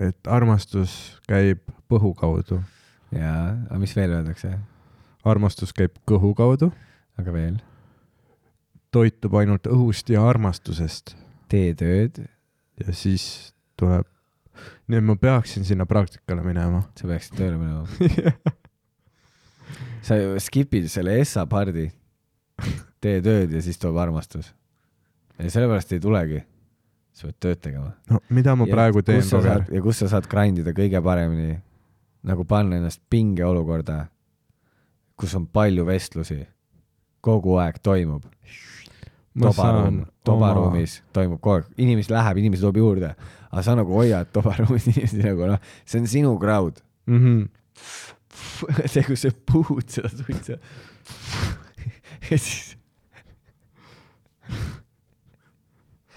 Speaker 1: et armastus käib põhu kaudu ,
Speaker 2: jaa , aga mis veel öeldakse ?
Speaker 1: armastus käib kõhu kaudu ,
Speaker 2: aga veel ?
Speaker 1: toitub ainult õhust ja armastusest
Speaker 2: tee tööd ,
Speaker 1: ja siis tuleb , nii et ma peaksin sinna praktikale *laughs* minema .
Speaker 2: sa peaksid tööle minema . sa ju skip'id selle essa pardi . tee tööd ja siis tuleb armastus . ja sellepärast ei tulegi . sa pead tööd tegema .
Speaker 1: no mida ma ja, praegu teen , Roger ?
Speaker 2: ja kus sa saad grind ida kõige paremini , nagu panna ennast pingeolukorda , kus on palju vestlusi , kogu aeg toimub . tobaruum , tobaruumis oma... toimub kogu aeg , inimesi läheb , inimesi tuleb juurde , aga sa nagu hoiad tobaruumis *laughs* inimesi nagu noh , see on sinu crowd . *laughs*
Speaker 1: mm . -hmm.
Speaker 2: see , kus sa puhud seda suitsu . *laughs* ja siis ,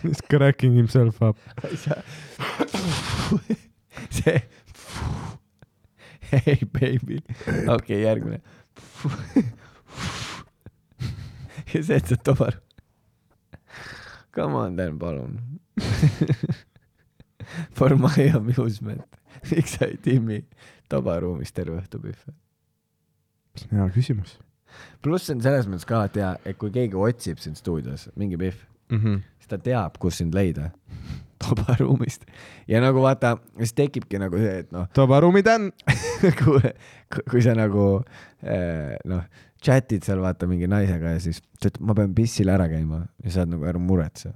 Speaker 1: He's cracking himself up .
Speaker 2: see . Hey baby , okei okay, , järgmine . ja see , et sa tobar . Come on , Dan , palun . For my amusement , miks sa ei timmi tobaruumis terve õhtu pühve ?
Speaker 1: hea küsimus
Speaker 2: pluss see on selles mõttes ka , et jaa , et kui keegi otsib sind stuudios , mingi pihv ,
Speaker 1: mm . -hmm.
Speaker 2: siis ta teab , kus sind leida . *laughs* tobaruumist . ja nagu vaata , siis tekibki nagu see , et noh , *laughs*
Speaker 1: tobaruumi Dan .
Speaker 2: kui , kui sa nagu eh, noh , chat'id seal vaata mingi naisega ja siis ta ütleb , ma pean pissil ära käima ja sa oled nagu ära muretse .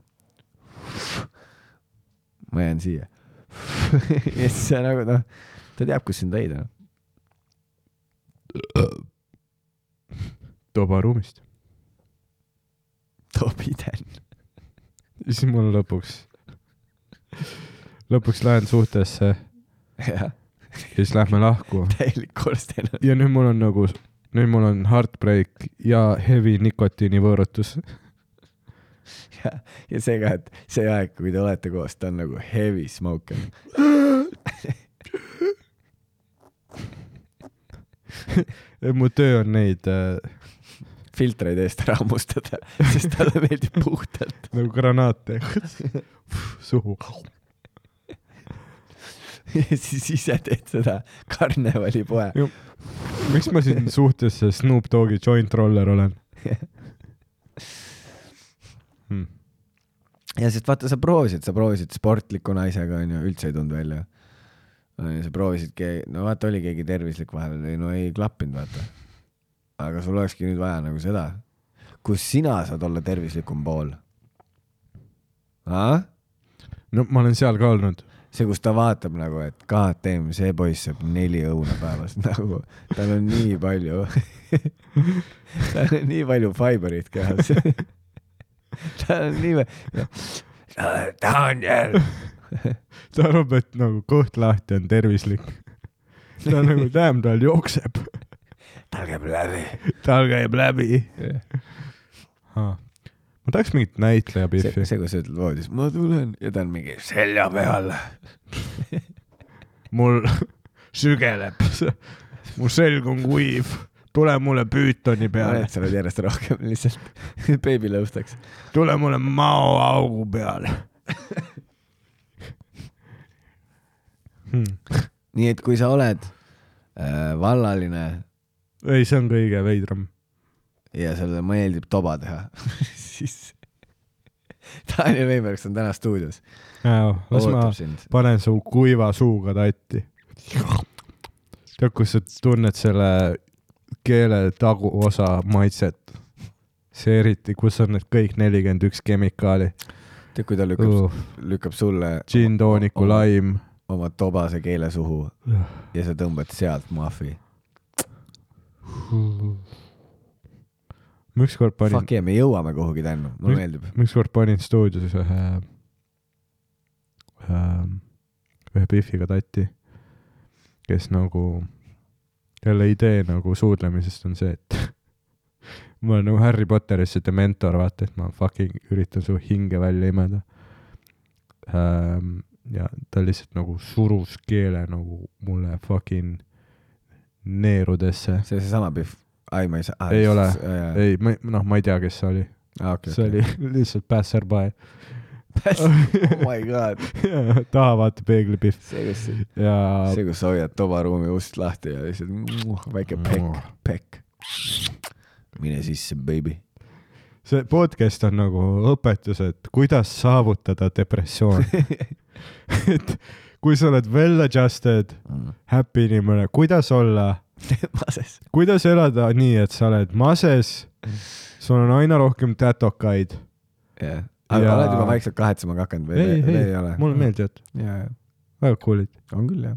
Speaker 2: ma jään siia . *laughs* ja siis sa nagu noh , ta teab , kus sind leida .
Speaker 1: tobaruumist .
Speaker 2: Tobi Dan .
Speaker 1: ja siis mul lõpuks , lõpuks lähen suhtesse ja
Speaker 2: *laughs* jah ,
Speaker 1: siis lähme lahku
Speaker 2: täielik korsten on .
Speaker 1: ja nüüd mul on nagu , nüüd mul on heartbreak ja heavy nikotiinivõõrutus .
Speaker 2: *laughs* ja , ja see ka , et see aeg , kui te olete koos , ta on nagu heavy smoker .
Speaker 1: mu töö on neid äh,
Speaker 2: filtreid eest ära hammustada , sest talle meeldib puhtalt .
Speaker 1: nagu granaate suhu .
Speaker 2: ja siis ise teed seda karnevalipoe .
Speaker 1: miks ma siin suhtesse Snoop Dogi joint roller olen hmm. ?
Speaker 2: ja sest vaata , sa proovisid , sa proovisid sportliku naisega onju , üldse ei tulnud välja . onju , sa proovisidki , no vaata , oli keegi tervislik vahepeal , ei no ei klappinud , vaata . aga sul olekski nüüd vaja nagu seda , kus sina saad olla tervislikum pool .
Speaker 1: no ma olen seal ka olnud .
Speaker 2: see , kus ta vaatab nagu , et KTM , see poiss saab neli õuna päevas , *laughs* nagu tal on nii palju , *laughs* tal on nii palju fiberit kehas . tal on nii palju , Daniel .
Speaker 1: ta arvab , et nagu kõht lahti on tervislik . ta nagu , damn , tal jookseb ,
Speaker 2: tal käib läbi .
Speaker 1: tal käib läbi . ma tahaks mingit näitleja
Speaker 2: see ,
Speaker 1: pihvi ,
Speaker 2: see , kui sa ütled voodis , ma tulen ja ta on mingi selja peal .
Speaker 1: mul *laughs* sügeleb , mu selg on kuiv , tule mulle püütoni peale ,
Speaker 2: sa oled järjest rohkem lihtsalt *laughs* beebilõustaks .
Speaker 1: tule mulle maoaugu peale hmm. .
Speaker 2: nii et kui sa oled äh, vallaline
Speaker 1: ei , see on kõige veidram .
Speaker 2: ja sulle meeldib toba teha , *laughs* siis Daniel Veibergs on täna stuudios .
Speaker 1: las ma
Speaker 2: ootab sind .
Speaker 1: panen su kuiva suuga tatti . tead , kus sa tunned selle keele taguosa maitset ? see eriti , kus on need kõik nelikümmend üks kemikaali
Speaker 2: tead , kui ta lükkab ,
Speaker 1: uh, .
Speaker 2: lükkab sulle
Speaker 1: gin tooniku laim .
Speaker 2: oma tobase keele suhu ja sa tõmbad sealt mahvi .
Speaker 1: ma ükskord panin
Speaker 2: Fuck , yeah , me jõuame kuhugi tänu ,
Speaker 1: Mis-
Speaker 2: mulle meeldib .
Speaker 1: ma ükskord panin stuudios ühe , ühe , ühe Biffiga tatti , kes nagu , jälle idee nagu suudlemisest on see , et *laughs* ma olen nagu Harry Potterisse dementor , vaata , et ma fucking üritan su hinge välja imeda . ja ta lihtsalt nagu surus keele nagu mulle fucking neerudesse .
Speaker 2: see on seesama Pihv . ai , ma ei saa .
Speaker 1: Ei ole. ei , ma , noh , ma ei tea , kes see oli ,
Speaker 2: ah, . Okay,
Speaker 1: see oli *laughs* lihtsalt passerby .
Speaker 2: *laughs* oh my
Speaker 1: *laughs*
Speaker 2: god ,
Speaker 1: Ja taha vaata peeglipihv
Speaker 2: see , kus ,
Speaker 1: ja .
Speaker 2: see , kus sa hoiad tobaruumi ust lahti ja lihtsalt muh, väike pekk , pekk . mine sisse , baby .
Speaker 1: see podcast on nagu õpetus , et kuidas saavutada
Speaker 2: *laughs*
Speaker 1: depressiooni . et kui sa oled well adjusted ,
Speaker 2: *laughs*
Speaker 1: happy inimene , kuidas olla ,
Speaker 2: mases .
Speaker 1: kuidas elada nii , et sa oled mases , sul on aina rohkem tätokaid .
Speaker 2: jah , aga
Speaker 1: Ja-
Speaker 2: ja... oled juba vaikselt kahetsema ka hakanud või ,
Speaker 1: ei ,
Speaker 2: või
Speaker 1: ei
Speaker 2: ei ole ?,
Speaker 1: mulle . meeldivad ,
Speaker 2: jaa , jaa ,
Speaker 1: väga cool'id .
Speaker 2: on küll jah .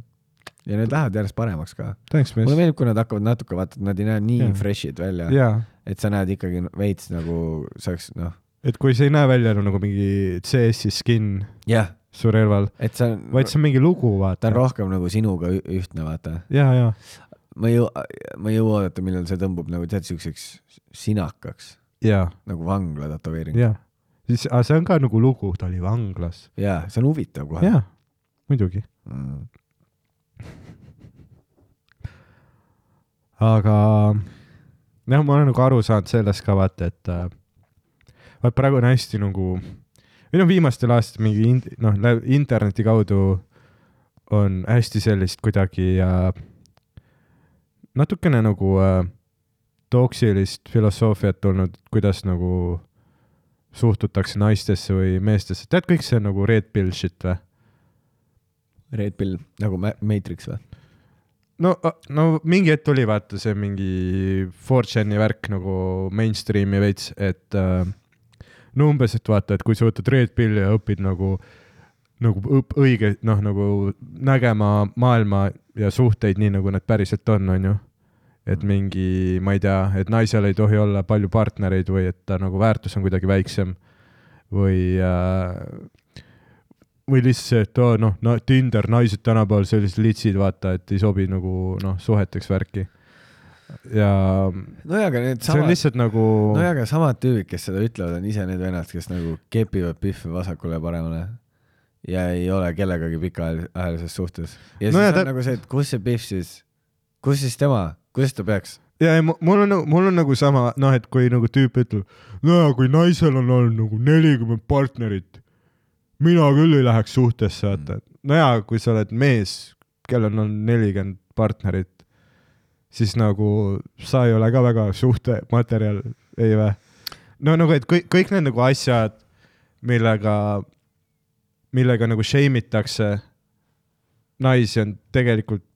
Speaker 2: ja need lähevad järjest paremaks ka .
Speaker 1: Thanks , mees
Speaker 2: mulle . meeldib , kui nad hakkavad natuke , vaata , et nad ei näe nii
Speaker 1: Jaa.
Speaker 2: fresh'id välja ,
Speaker 1: jaa ,
Speaker 2: et sa näed ikkagi veits nagu saaks , noh ,
Speaker 1: et kui see ei näe välja nagu mingi CS-i skin
Speaker 2: jah ,
Speaker 1: su relval ,
Speaker 2: et sa ,
Speaker 1: vaid see on mingi lugu ,
Speaker 2: ta
Speaker 1: vaata
Speaker 2: on . rohkem nagu sinuga ü- ühtne , vaata
Speaker 1: ja , ja
Speaker 2: ma ei jõua , ma ei jõua oodata , millal see tõmbub nagu tead siukseks sinakaks
Speaker 1: jaa ,
Speaker 2: nagu vangla tätoveering ja. .
Speaker 1: jaa . siis , aga see on ka nagu lugu , ta oli vanglas .
Speaker 2: jaa , see on huvitav kohe .
Speaker 1: jaa , muidugi .
Speaker 2: Mm.
Speaker 1: aga jah , ma olen nagu aru saanud sellest ka vaata , et äh, vaat praegu on hästi nagu , või noh , viimastel aastatel mingi in- , noh , interneti kaudu on hästi sellist kuidagi äh, natukene nagu äh, toksilist filosoofiat tulnud , kuidas nagu suhtutakse naistesse või meestesse , tead kõik see nagu red pill shit või ?
Speaker 2: Red Pill nagu Ma- Matrix või ?
Speaker 1: no , no mingi hetk oli vaata see mingi 4chan'i värk nagu mainstream'i veits , et äh, no umbes , et vaata , et kui sa võtad red pill'i ja õpid nagu , nagu õp- õige , noh , nagu nägema maailma ja suhteid nii , nagu need päriselt on , on ju . et mingi , ma ei tea , et naisel ei tohi olla palju partnereid või et ta nagu väärtus on kuidagi väiksem või äh, või lihtsalt see , et aa noh no, , Tinder naised tänapäeval sellised litsid , vaata , et ei sobi nagu noh , suheteks värki . ja
Speaker 2: nojah , aga need
Speaker 1: see on
Speaker 2: samad ,
Speaker 1: lihtsalt nagu
Speaker 2: nojah , aga samad tüübid , kes seda ütlevad , on ise need vennad , kes nagu kepivad pihve vasakule ja paremale ja ei ole kellegagi pikaajalises suhtes . ja siis
Speaker 1: No ja
Speaker 2: no on
Speaker 1: ta-
Speaker 2: ta... nagu see , et kus see pihv siis , kus siis tema , kuidas ta peaks ?
Speaker 1: ja ei , mul on , mul on nagu sama , noh , et kui nagu tüüp ütleb , no ja kui naisel on olnud nagu nelikümmend partnerit , mina küll ei läheks suhtesse , vaata . no ja kui sa oled mees , kellel on nelikümmend partnerit , siis nagu sa ei ole ka väga suhtematerjal , ei vä ? no nagu , et kõik , kõik need nagu asjad , millega , millega nagu shame itakse naisi , on tegelikult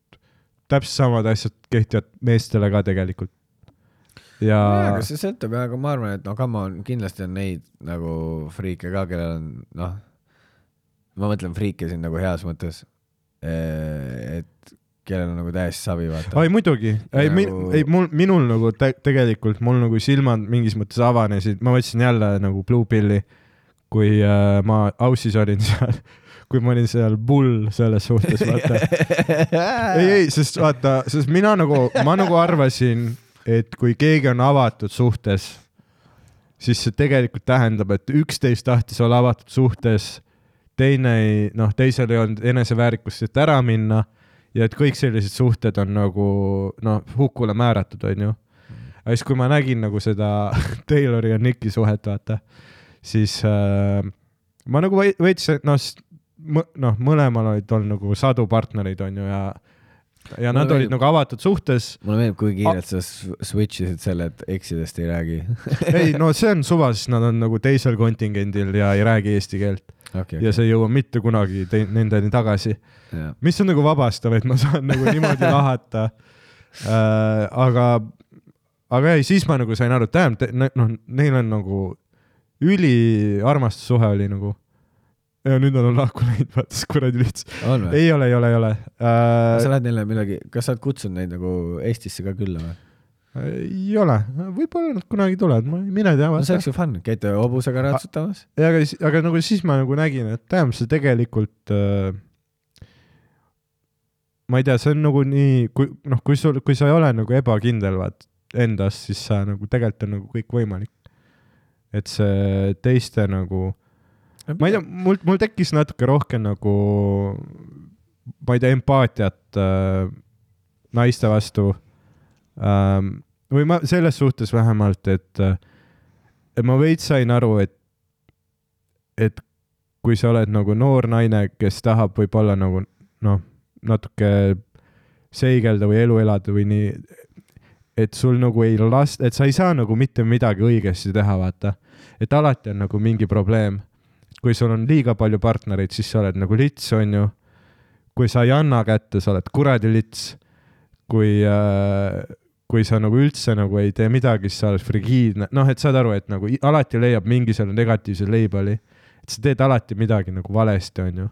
Speaker 1: täpselt samad asjad kehtivad meestele ka tegelikult .
Speaker 2: nojah ,
Speaker 1: ja
Speaker 2: aga see sõltub jah , aga ma arvan , et no come on , kindlasti on neid nagu friike ka , kellel on noh , ma mõtlen friike siin nagu heas mõttes . et kellel on nagu täiesti savi vaata .
Speaker 1: ei muidugi , ei
Speaker 2: Nagu-
Speaker 1: nagu... , ei mul , minul nagu te tegelikult mul nagu silmad mingis mõttes avanesid , ma võtsin jälle nagu Blue Pilli , kui äh, ma Aussis olin seal , *laughs* kui ma olin seal pull selles suhtes , vaata .
Speaker 2: *laughs*
Speaker 1: *laughs* ei , ei , sest vaata , sest mina nagu , ma nagu arvasin , et kui keegi on avatud suhtes , siis see tegelikult tähendab , et üksteist tahtis olla avatud suhtes , teine ei , noh , teisel ei olnud eneseväärikust , et ära minna ja et kõik sellised suhted on nagu noh , hukule määratud , onju . aga siis , kui ma nägin nagu seda Taylori ja Nicki suhet , vaata , siis äh, ma nagu vei- veits , noh , noh , mõlemal olid olnud nagu sadu partnereid , onju , ja , ja
Speaker 2: Mulle
Speaker 1: nad olid
Speaker 2: meeldib-
Speaker 1: nagu avatud suhtes .
Speaker 2: mulle meeldib , kui
Speaker 1: Ah.
Speaker 2: kiirelt sa s- switch isid selle , et eksidest ei räägi . *laughs*
Speaker 1: ei , no see on suva , sest nad on nagu teisel kontingendil ja ei räägi eesti keelt
Speaker 2: okei ,
Speaker 1: ja see ei jõua mitte kunagi te- nendeni tagasi .
Speaker 2: jah .
Speaker 1: mis on nagu vabastav , et ma saan nagu niimoodi
Speaker 2: *laughs*
Speaker 1: lahata äh, . aga , aga ei , siis ma nagu sain aru , et tähendab , noh , neil on nagu üliarmastussuhe oli nagu . ja nüüd nad on lahku läinud , vaata siis kuradi lihtsalt .
Speaker 2: on või ?
Speaker 1: ei ole , ei ole , ei ole
Speaker 2: sa
Speaker 1: äh, .
Speaker 2: lähed neile midagi , kas sa oled kutsunud neid nagu Eestisse ka külla või ?
Speaker 1: ei ole , võib-olla nad kunagi tulevad , ma , mine tea .
Speaker 2: no see oleks ju fun , käite hobusega ratsutamas .
Speaker 1: ja aga , aga nagu siis ma nagu nägin , et tähendab , see tegelikult äh, ma ei tea , see on nagu nii , kui noh , kui sul , kui sa ei ole nagu ebakindel vaat endas , siis sa nagu tegelikult on nagu kõik võimalik . et see teiste nagu , ma ei tea , mul , mul tekkis natuke rohkem nagu , ma ei tea , empaatiat äh, naiste vastu ähm, . või ma selles suhtes vähemalt , et , et ma veits sain aru , et , et kui sa oled nagu noor naine , kes tahab võib-olla nagu noh , natuke seigelda või elu elada või nii , et sul nagu ei last- , et sa ei saa nagu mitte midagi õigesti teha , vaata . et alati on nagu mingi probleem . kui sul on liiga palju partnereid , siis sa oled nagu lits , onju . kui sa ei anna kätte , sa oled kuradi lits . kui äh, , kui sa nagu üldse nagu ei tee midagi , siis sa oled frigiidne , noh , et saad aru , et nagu i- alati leiab mingi selle negatiivse label'i . et sa teed alati midagi nagu valesti , onju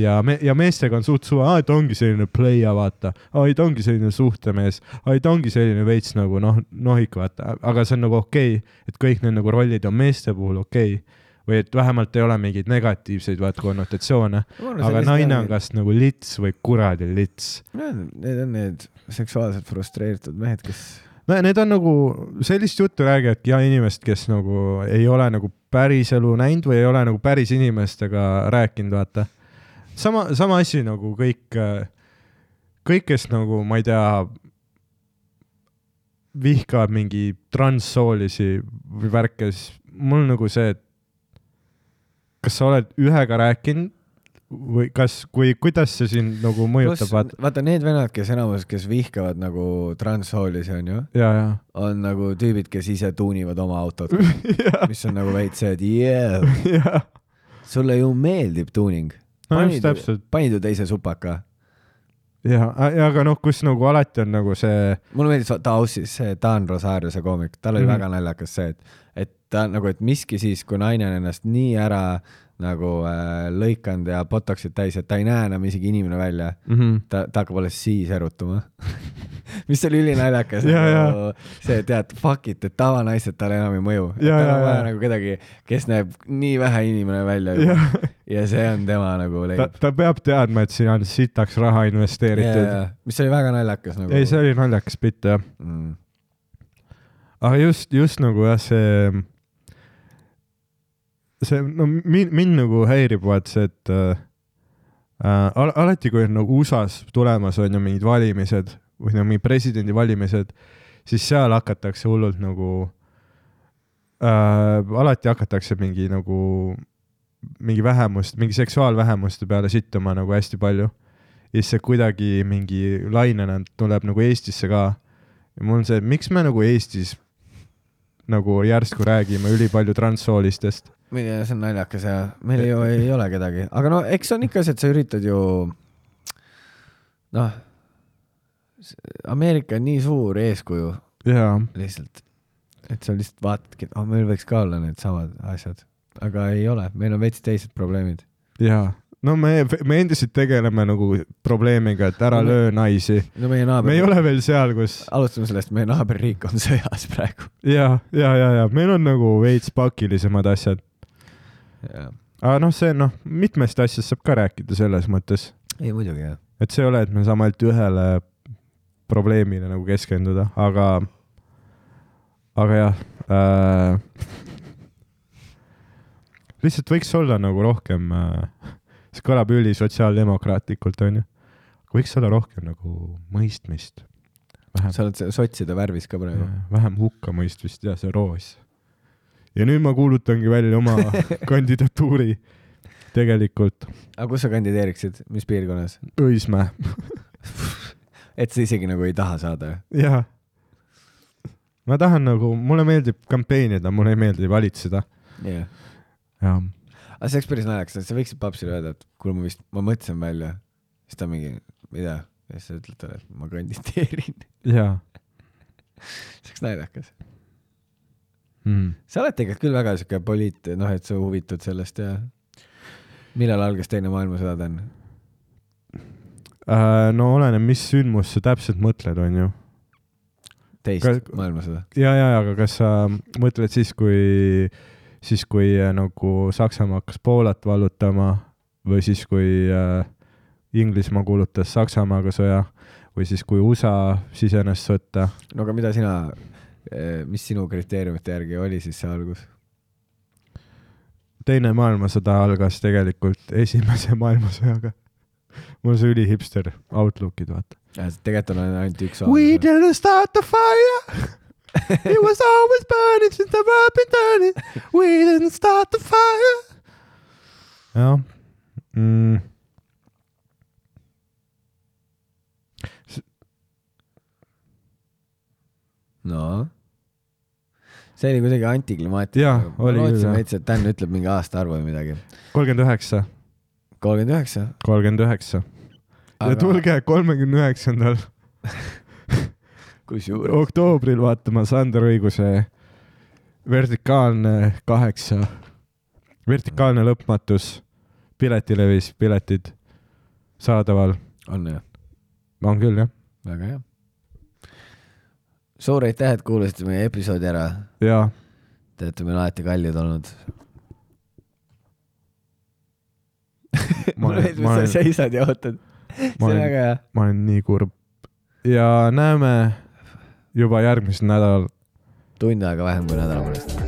Speaker 1: ja me , ja meestega on suht suva , et ongi selline pleia , vaata , ei ta ongi selline suhtemees , ei ta ongi selline veits nagu noh , nohik , vaata , aga see on nagu okei okay, , et kõik need nagu rollid on meeste puhul okei okay. või et vähemalt ei ole mingeid negatiivseid , vaat konnotatsioone , aga naine on . kas nagu lits või kuradi lits .
Speaker 2: Need on need seksuaalselt frustreeritud mehed , kes
Speaker 1: no ja need on nagu , sellist juttu räägivadki ja inimesed , kes nagu ei ole nagu päris elu näinud või ei ole nagu päris inimestega rääkinud , vaata . sama , sama asi nagu kõik , kõik , kes nagu , ma ei tea , vihkavad mingi transsoolisi või värke , siis mul nagu see , et kas sa oled ühega rääkinud või kas , kui , kuidas see sind nagu mõjutab , vaata .
Speaker 2: vaata need vennad , kes enamus , kes vihkavad nagu transhoolisi , onju ,
Speaker 1: ja , ja
Speaker 2: on nagu tüübid , kes ise tuunivad oma
Speaker 1: *laughs*
Speaker 2: autot , *laughs* mis on nagu veits see , et yeah,
Speaker 1: jah ,
Speaker 2: sulle ju meeldib tuuning .
Speaker 1: no just täpselt .
Speaker 2: panid ju teise supaka .
Speaker 1: ja , aga noh , kus nagu alati on nagu see ,
Speaker 2: mulle meeldis vaata Aussis see Dan Rosario , see koomik , tal oli
Speaker 1: Mhm.
Speaker 2: mm. väga naljakas see , et , et ta nagu , et miski siis , kui naine on ennast nii ära nagu äh, lõikanud ja botox'id täis , et ta ei näe enam isegi inimene välja
Speaker 1: mm . -hmm.
Speaker 2: ta , ta hakkab alles siis erutuma . *laughs* mis oli ülinaljakas
Speaker 1: Ja,
Speaker 2: nagu see , tead , fuck it , et tavanaised talle enam ei mõju .
Speaker 1: Ja, ja,
Speaker 2: tal on
Speaker 1: ja.
Speaker 2: vaja nagu kedagi , kes näeb nii vähe inimene välja juba
Speaker 1: Ja,
Speaker 2: ja, ja see on tema nagu
Speaker 1: ta ,
Speaker 2: leib .
Speaker 1: ta peab teadma , et sinna on sitaks raha investeeritud yeah. .
Speaker 2: mis oli väga naljakas nagu .
Speaker 1: ei , see oli naljakas bitt jah .
Speaker 2: mm. .
Speaker 1: aga just , just nagu jah , see , see , no mind , mind nagu häirib vaat see , et äh, al- alati , kui on nagu USA-s tulemas on ju mingid valimised või no mingi presidendivalimised , siis seal hakatakse hullult nagu äh, , alati hakatakse mingi nagu , mingi vähemust , mingi seksuaalvähemuste peale sittuma nagu hästi palju . ja siis see kuidagi mingi lainena tuleb nagu Eestisse ka . ja mul on see , miks me nagu Eestis nagu järsku räägime ülipalju transsoolistest .
Speaker 2: ma ei tea , see on naljakas ja meil ju ei, ei ole kedagi , aga no eks on ikka see , et sa üritad ju noh , Ameerika on nii suur eeskuju
Speaker 1: jaa .
Speaker 2: lihtsalt , et sa lihtsalt vaatadki , et oh, meil võiks ka olla needsamad asjad , aga ei ole , meil on veits teised probleemid .
Speaker 1: jaa , no me , me endiselt tegeleme nagu probleemiga , et ära
Speaker 2: Me-
Speaker 1: löö naisi .
Speaker 2: no
Speaker 1: me
Speaker 2: meie
Speaker 1: ei
Speaker 2: naaber ,
Speaker 1: ole veel seal , kus
Speaker 2: alustame sellest , meie naaberriik on *laughs* sõjas praegu .
Speaker 1: ja , ja , ja , ja meil on nagu veits pakilisemad asjad . aga noh , see noh , mitmest asjast saab ka rääkida selles mõttes ,
Speaker 2: ei muidugi jah .
Speaker 1: et see ei ole , et me saame ainult ühele probleemile nagu keskenduda , aga , aga jah äh, . *laughs* lihtsalt võiks olla nagu rohkem äh, , see kõlab ülisotsiaaldemokraatlikult , onju , võiks olla rohkem nagu mõistmist . vähem ,
Speaker 2: sa oled se- sotside värvis ka praegu .
Speaker 1: vähem hukkamõistmist ja see roos . ja nüüd ma kuulutangi välja oma kandidatuuri tegelikult
Speaker 2: aga kus sa kandideeriksid , mis piirkonnas ?
Speaker 1: Õismäe .
Speaker 2: et sa isegi nagu ei taha saada ?
Speaker 1: jaa . ma tahan nagu , mulle meeldib kampeenida , mulle ei meeldi valitseda .
Speaker 2: jah .
Speaker 1: jaa .
Speaker 2: aga see oleks päris naljakas , et sa võiksid papsile öelda , et kuule , ma vist , ma mõtlesin välja . siis ta mingi , mida ? ja siis sa ütled talle , et ma kandideerin . *laughs*
Speaker 1: jaa
Speaker 2: see oleks naljakas .
Speaker 1: mm. .
Speaker 2: sa oled tegelikult küll väga siuke poliit , noh , et sa huvitud sellest ja . millal algas Teine maailmasõda ta on ?
Speaker 1: Äh, no oleneb , mis sündmust sa täpselt mõtled , onju .
Speaker 2: teist
Speaker 1: Kas-
Speaker 2: maailmasõda .
Speaker 1: ja , ja , aga kas sa mõtled siis , kui , siis kui äh, nagu Saksamaa hakkas Poolat vallutama või siis , kui äh, Inglismaa kuulutas Saksamaaga sõja või siis , kui USA sisenes sõtta ?
Speaker 2: no aga mida sina , mis sinu kriteeriumite järgi oli siis see algus ?
Speaker 1: teine maailmasõda algas tegelikult esimese maailmasõjaga . mul on see ülihipster outlook'id , vaata .
Speaker 2: Äh, tegelikult on ainult üks
Speaker 1: We
Speaker 2: algus .
Speaker 1: didn't start the fire . It was always burning since the world been turning . We didn't start the fire . jah mm. .
Speaker 2: *laughs* no see oli kuidagi antiklimaatiline .
Speaker 1: Jah, oli
Speaker 2: ma
Speaker 1: küll, jah.
Speaker 2: lootsin veits , et Dan ütleb mingi aastaarvu või midagi .
Speaker 1: kolmkümmend üheksa ,
Speaker 2: kolmkümmend üheksa .
Speaker 1: kolmkümmend üheksa ja tulge kolmekümne üheksandal
Speaker 2: kusjuures
Speaker 1: oktoobril vaatama Sander Õiguse vertikaalne kaheksa , vertikaalne lõpmatus , piletilevis piletid saadaval ,
Speaker 2: on jah ,
Speaker 1: on küll jah ,
Speaker 2: väga hea . suur aitäh , et kuulasite meie episoodi ära .
Speaker 1: ja
Speaker 2: Te olete meil alati kallid olnud .
Speaker 1: ma
Speaker 2: mulle
Speaker 1: olen ,
Speaker 2: meeldib ,
Speaker 1: ma
Speaker 2: et *laughs*
Speaker 1: olen ,
Speaker 2: sa seisad ja ootad . see
Speaker 1: ma
Speaker 2: on
Speaker 1: olen ,
Speaker 2: väga hea .
Speaker 1: ma olen nii kurb ja näeme juba järgmisel nädalal .
Speaker 2: tund aega vähem kui nädala pärast .